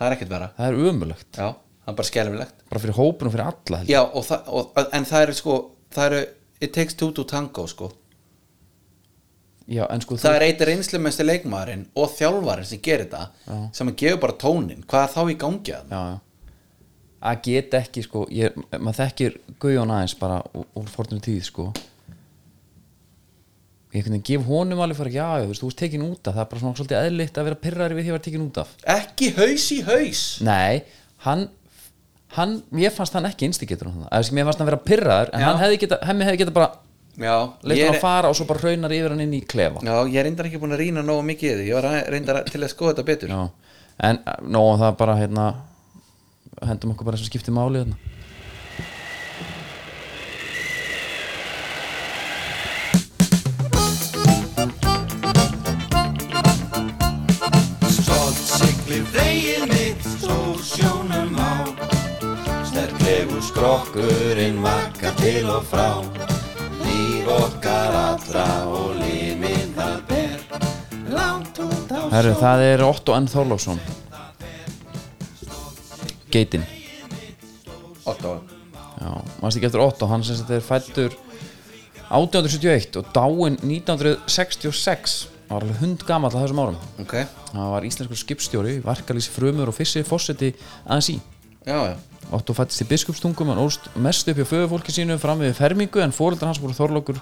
S2: það er ekkert vera
S1: það er umulögt,
S2: Já, það er bara skelfilegt
S1: bara fyrir hópin og fyrir alla held ég.
S2: Já, og það, og, en það eru sko það eru, it takes two to tango sko
S1: Já, en sko
S2: það er eitt reynslumesti leikmaðurinn og þjálfarinn sem gerir þetta sem að gefa bara tónin, hvað er þá í gangi að það?
S1: já, já. að geta ekki sko, ég, maður þekkir Guðjón aðeins bara úr- úr fornum tíð sko ég einhvern veginn gef honum alveg fyrir já, já, þú veist, þú veist tekin út af það er bara svona svolítið eðlitt að vera pirrari við því að vera tekin út af
S2: Ekki haus í haus
S1: Nei, hann, hann mér fannst hann ekki instigator hann. mér fannst hann vera pyrraður en
S2: Já.
S1: hann hefði geta, hemmi hefði geta bara
S2: já,
S1: leitt
S2: ég
S1: hann
S2: er,
S1: að fara og svo bara raunar yfir hann inn í klefa
S2: já, ég er reyndar ekki búin að rýna nógu mikið í því, ég var að- reyndar að- til að skoða þetta betur
S1: Já, en nóg það bara hérna hendum okkur bara sem skipti máli hérna
S4: Stolt siglir vegið mitt úr sjónum á Sterklegur skrokkurinn vakar til og frá Líf okkar allra og limið það ber Langt út á
S1: Herru, það er Otto N. Þorlóksson Geitin
S2: Otto,
S1: Já, mannst ekki eftir Otto, hann sem þetta er fættur 1871 og dáinn 1966 hann var alveg hund gamall að þessum árum
S2: ok
S1: hann var íslenskur skipstjóri, varkalýs frumur og fyssi fórseti aðeins í
S2: já, já,
S1: Otto fættist í biskupstungum, hann óst mest upp hjá föðufólki sínu fram við fermingu en fóreldrar hans voru Þorlókur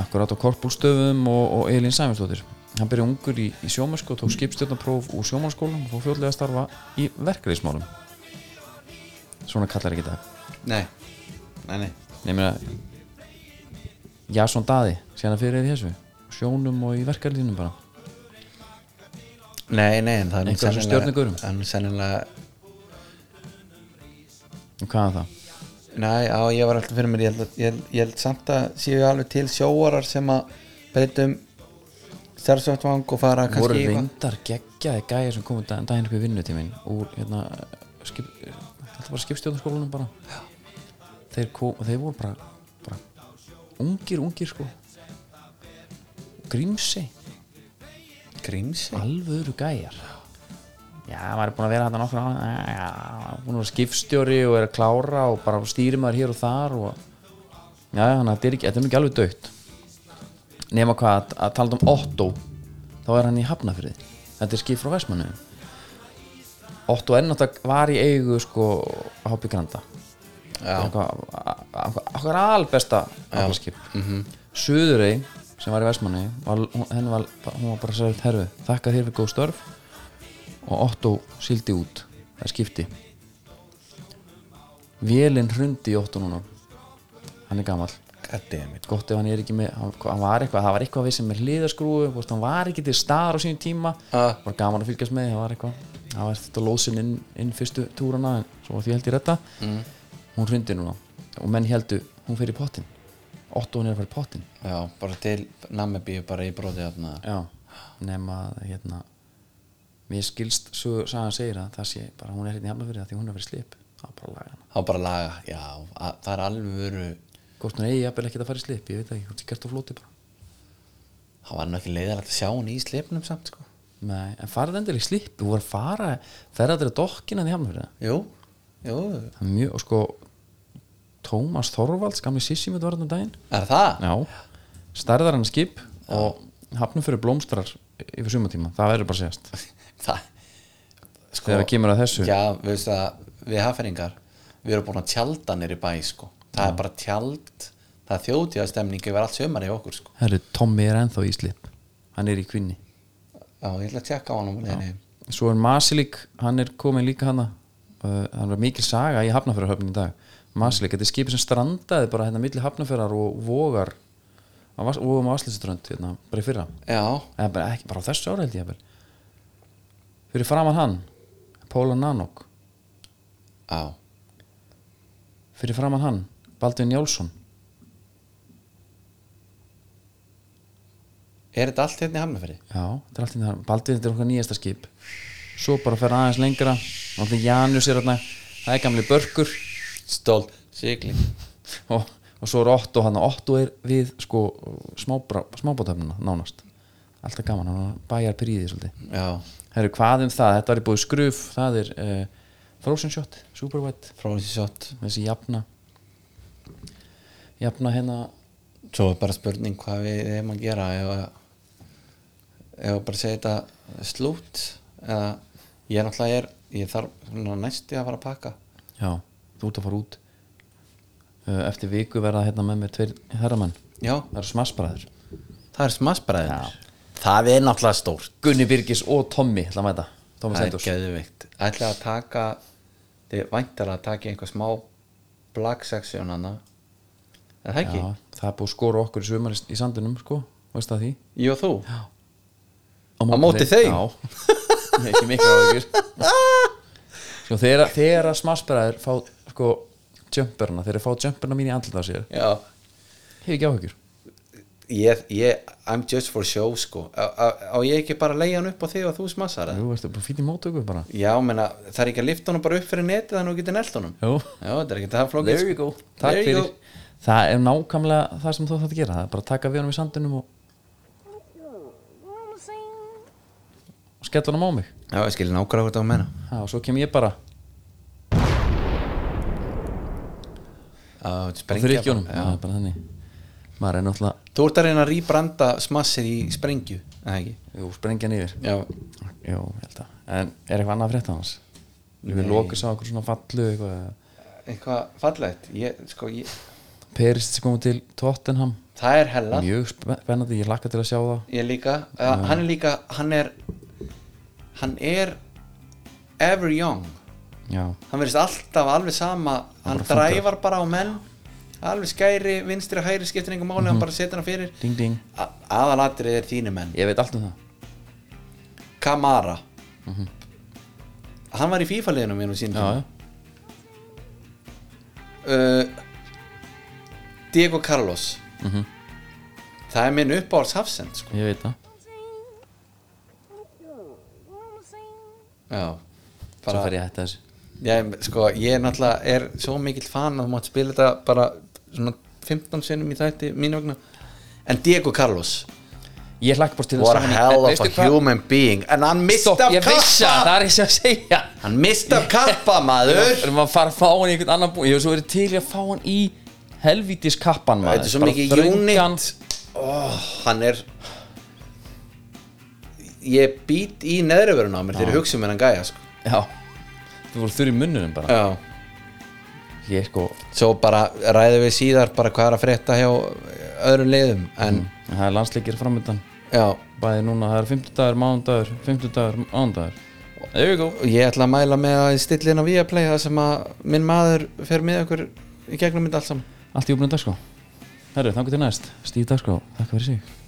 S1: akkurat á korpúlstöfum og, og Elín Sæminsdóttir hann byrjaði ungur í, í sjómörsku og tók skipstjórnapróf úr sjómannskólan og fór fljótlega að starfa í verkalýsmálum svona kallar ekki það
S2: nei nei, nei,
S1: Nei, ég meina Jason Daði, síðan að fyrir er í þessu sjónum og í verkarlínum bara
S2: nei, nei en það er nú
S1: Einhverjum
S2: sennilega-
S1: stjörnugurum.
S2: það er nú sennilega,
S1: og hvað er það?
S2: nei, á, ég var alltaf fyrir mér ég held, að- ég, held- ég held samt að séu alveg til sjóarar sem að breytum starfsvöldvang og fara kannski
S1: voru
S2: í eitthvað.
S1: reyndar geggjaði gæja sem komu daginn, daginn upp í vinnutíminn úr hérna skip, þetta bara skipstjórnarskólanum bara þeir, kom, þeir voru bara, bara ungir, ungir sko grímsi
S2: Grímsi
S1: alvöru gæjar já, maður er búin að vera þetta nokkur ára já, búin að vera skipstjóri og er að klára og bara stýri maður hér og þar og já, þannig að þetta er ekki, þetta er nú ekki alveg dögt nema hvað að, að tala um Otto þá er hann í Hafnafrið þetta er skip frá Vestmannu Otto er náttúrulega var í eigu sko Hoppi Granda
S2: Já,
S1: okkur albesta aflaskip mm -hmm. Suðurey sem var í Vestmanni var, hún, henni var, hún var bara að segja herru, þakka þér fyrir góð störf og Otto sildi út það skipti Vélinn hrundi í Otto núna hann er gamall
S2: goddammit
S1: gott ef hann er ekki með hann, hann var eitthvað, það var eitthvað við sem er hliðaskrúi þú veist, hann var ekki til staðar á sínum tíma
S2: Ah.
S1: var gaman að fylgjast með, það var eitthvað það var þetta lóðsinn inn, inn fyrstu túrana en svo var því held í retta mm. hún hrundi núna og menn heldu hún fer í pottin, Otto hún er að fara í pottin
S2: Já, bara til Namibíu bara í broti þarna
S1: já, nema að, hérna mér skilst, svo sagan segir að það sé bara hún er hérna í hafna fyrir það því hún er að vera í slip það er bara að laga hana
S2: Þá bara laga, já, að, það er alvöru
S1: hvort hún eigi jafnvel ekki að fara í slip, ég veit það ekki, hún sé gert á flóti bara
S2: Það var nú ekki leiðilegt að sjá hann í sleipnum samt sko
S1: Nei, en farið endilega í slippu og voru að fara, ferða til að dokkina því hafnafyrir
S2: Jú, jú,
S1: það er mjög, og sko Tómas Þorvalds, gamli sissi mitt var þarna um daginn
S2: er það?
S1: já, stærðar hann skip og hafnum fyrir blómstrar yfir sumatíma, það verður bara séðast
S2: Það, sko
S1: þegar við kemur að þessu
S2: Já, við veist að við haferingar Við erum búin að tjalda nýri bæ sko Það er bara tjald Það er þjóðtíðastemning yfir allt sömari í okkur sko
S1: herru, Tommy er ennþá í slipp hann er í kvinni
S2: Já, ég ætla að tjekka á hann um leiðinni heim.
S1: svo er Masilík, hann er komin líka hana uh, hann var mikil saga í Hafnarfjörðarhöfn í dag Masilík, þetta er skipið sem strandaði bara hérna milli Hafnarfjörðar og vogar á Vas- vogum á Vaslinsuströnd hérna, bara í fyrra
S2: Já,
S1: eða bara ekki, bara á þessu ára held ég að fyrir framann hann Póla Nanok
S2: já,
S1: fyrir framann hann, Baldvin Njálsson
S2: er þetta allt hérna í hafnafyrir?
S1: já, þetta er allt í það, Baldvin þetta er okkar nýjasta skip svo bara fer aðeins lengra náttúrulega Janus er þarna það er gamli börkur
S2: Stolt, sigling
S1: og, og svo er Otto hann og Otto er við sko smábra- smábátöfnina nánast alltaf gaman, hann bæjar príði svolítið
S2: Já,
S1: herru, hvað um það, þetta var í búið skruf það er uh, Frozen Shot, Super Wet
S2: Frozen Shot
S1: þessi jafna jafna hérna
S2: Svo er bara spurning hvað við hefum að gera ef að ef að bara segja þetta slút eða ég er náttúrulega er ég þarf svona næsti að fara að pakka
S1: já, þú ert að fara út Uh, eftir viku verða hérna með mér tveir herramenn,
S2: Já,
S1: það eru smassbræður
S2: það er smassbræðir Það er náttúrulega stórt
S1: Gunni Birgis og Tommy ætla að mæta, Tommy
S2: Það er
S1: Stendors
S2: geðvikt Ætla að taka þið væntar að taka einhver smá black section hana er það ekki?
S1: Já, það er búið að skora okkur í sumar í, í sandinum sko, veist það því
S2: Ég og þú?
S1: á
S2: móti þeim?
S1: Já, ekki mikil áhugur Sko þegar, þegar að smassbræður fá sko jumperna, þegar þeir fá jumperna mín í andlut á sér
S2: Já,
S1: hefur ekki áhugur
S2: ég, ég, I'm just for show sko á, á, á ég ekki bara að leiða hann upp á þig og þú smassar það?
S1: Jú, veistu, bara fínir mótöku bara
S2: Já, menna, það er ekki að lifta honum bara upp fyrir netið þannig að þú getur nelt honum
S1: Jú,
S2: Já, þetta er ekki það flókið sko.
S1: Takk
S2: There you
S1: fyrir
S2: go.
S1: Það er nákvæmlega það sem þú þátt að gera það er bara að taka við honum í sandinum og,
S3: wanna sing.
S1: og skella honum á mig
S2: Já, ég skilja nákvæmlega hvort það að menna
S1: ha, og svo kem ég bara
S2: Já,
S1: og
S2: sprengja
S1: fyrir ekki honum
S2: bara. Já.
S1: Það er bara þannig maður er náttúrulega
S2: Þú ert að reyna að rýbranda smassið í sprengju eða ekki?
S1: jú, sprengja niður
S2: Já,
S1: Jú, ég held að En er eitthvað annað að frétta hans? Við lokum sá okkur svona fallu eitthvað
S2: eitthvað fallegt ég, sko, ég,
S1: Perist komið til Tottenham
S2: Það er hella
S1: Mjög spennandi, ég lakka til að sjá það
S2: Ég líka, uh, hann er líka hann er hann er ever young
S1: Já,
S2: hann verðist alltaf alveg sama hann
S1: bara
S2: dræfar bara á menn alveg skæri, vinstri og hægri skiptir engum máli
S1: Mhm.
S2: hann bara setur hann fyrir
S1: ding ding
S2: A- aðalatrið er þínu menn
S1: Ég veit allt um það
S2: Kamara
S1: Mhm.
S2: hann var í FIFA-liðinu mínum sín
S1: Já, já,
S2: uh, Diego Carlos
S1: Mhm.
S2: það er minn uppáhalds hafsend sko.
S1: ég veit það
S3: wanna sing.
S2: já,
S1: Svo
S2: bara,
S1: fer ég að hætta þessu
S2: já, sko, ég náttúrulega er svo mikill fan að þú mátt spila þetta bara svona 15 sinnum í þætti mínu vegna en Diego Carlos
S1: Ég hlakka bara til
S2: what a
S1: saman í-
S2: hell of
S1: Veistu
S2: a
S1: hvað?
S2: human being en hann misti
S1: Stopp,
S2: af
S1: ég vissi það,
S2: kappa
S1: það er ég sem að segja
S2: hann misti af kappa maður
S1: Erum að fara að fá hann í einhvern annan búin Ég hef svo verið til í að fá hann í helvítis kappan maður
S2: Þetta er svo
S1: Bara
S2: mikið
S1: þröngan-
S2: unit oh, Hann er Ég být í neðrivörun á mér þegar ég hugsa um hennan gæja sko.
S1: Já, þú voru þurr í munnunum bara
S2: Já.
S1: Ég sko,
S2: Svo bara ræðum við síðar bara hvað er að frétta hjá öðrum liðum en
S1: það er landsleikir framöndan
S2: já,
S1: bæði núna, það er 50 dagur, mándagur 50 dagur, mándagur there you go
S2: ég ætla að mæla með að stilla inn á Viaplay það sem að minn maður fer með okkur í gegnum mynd allt saman
S1: allt í opnum dagskrá herru, þangu til næst, Stíf dagskrá, þakka fyrir sig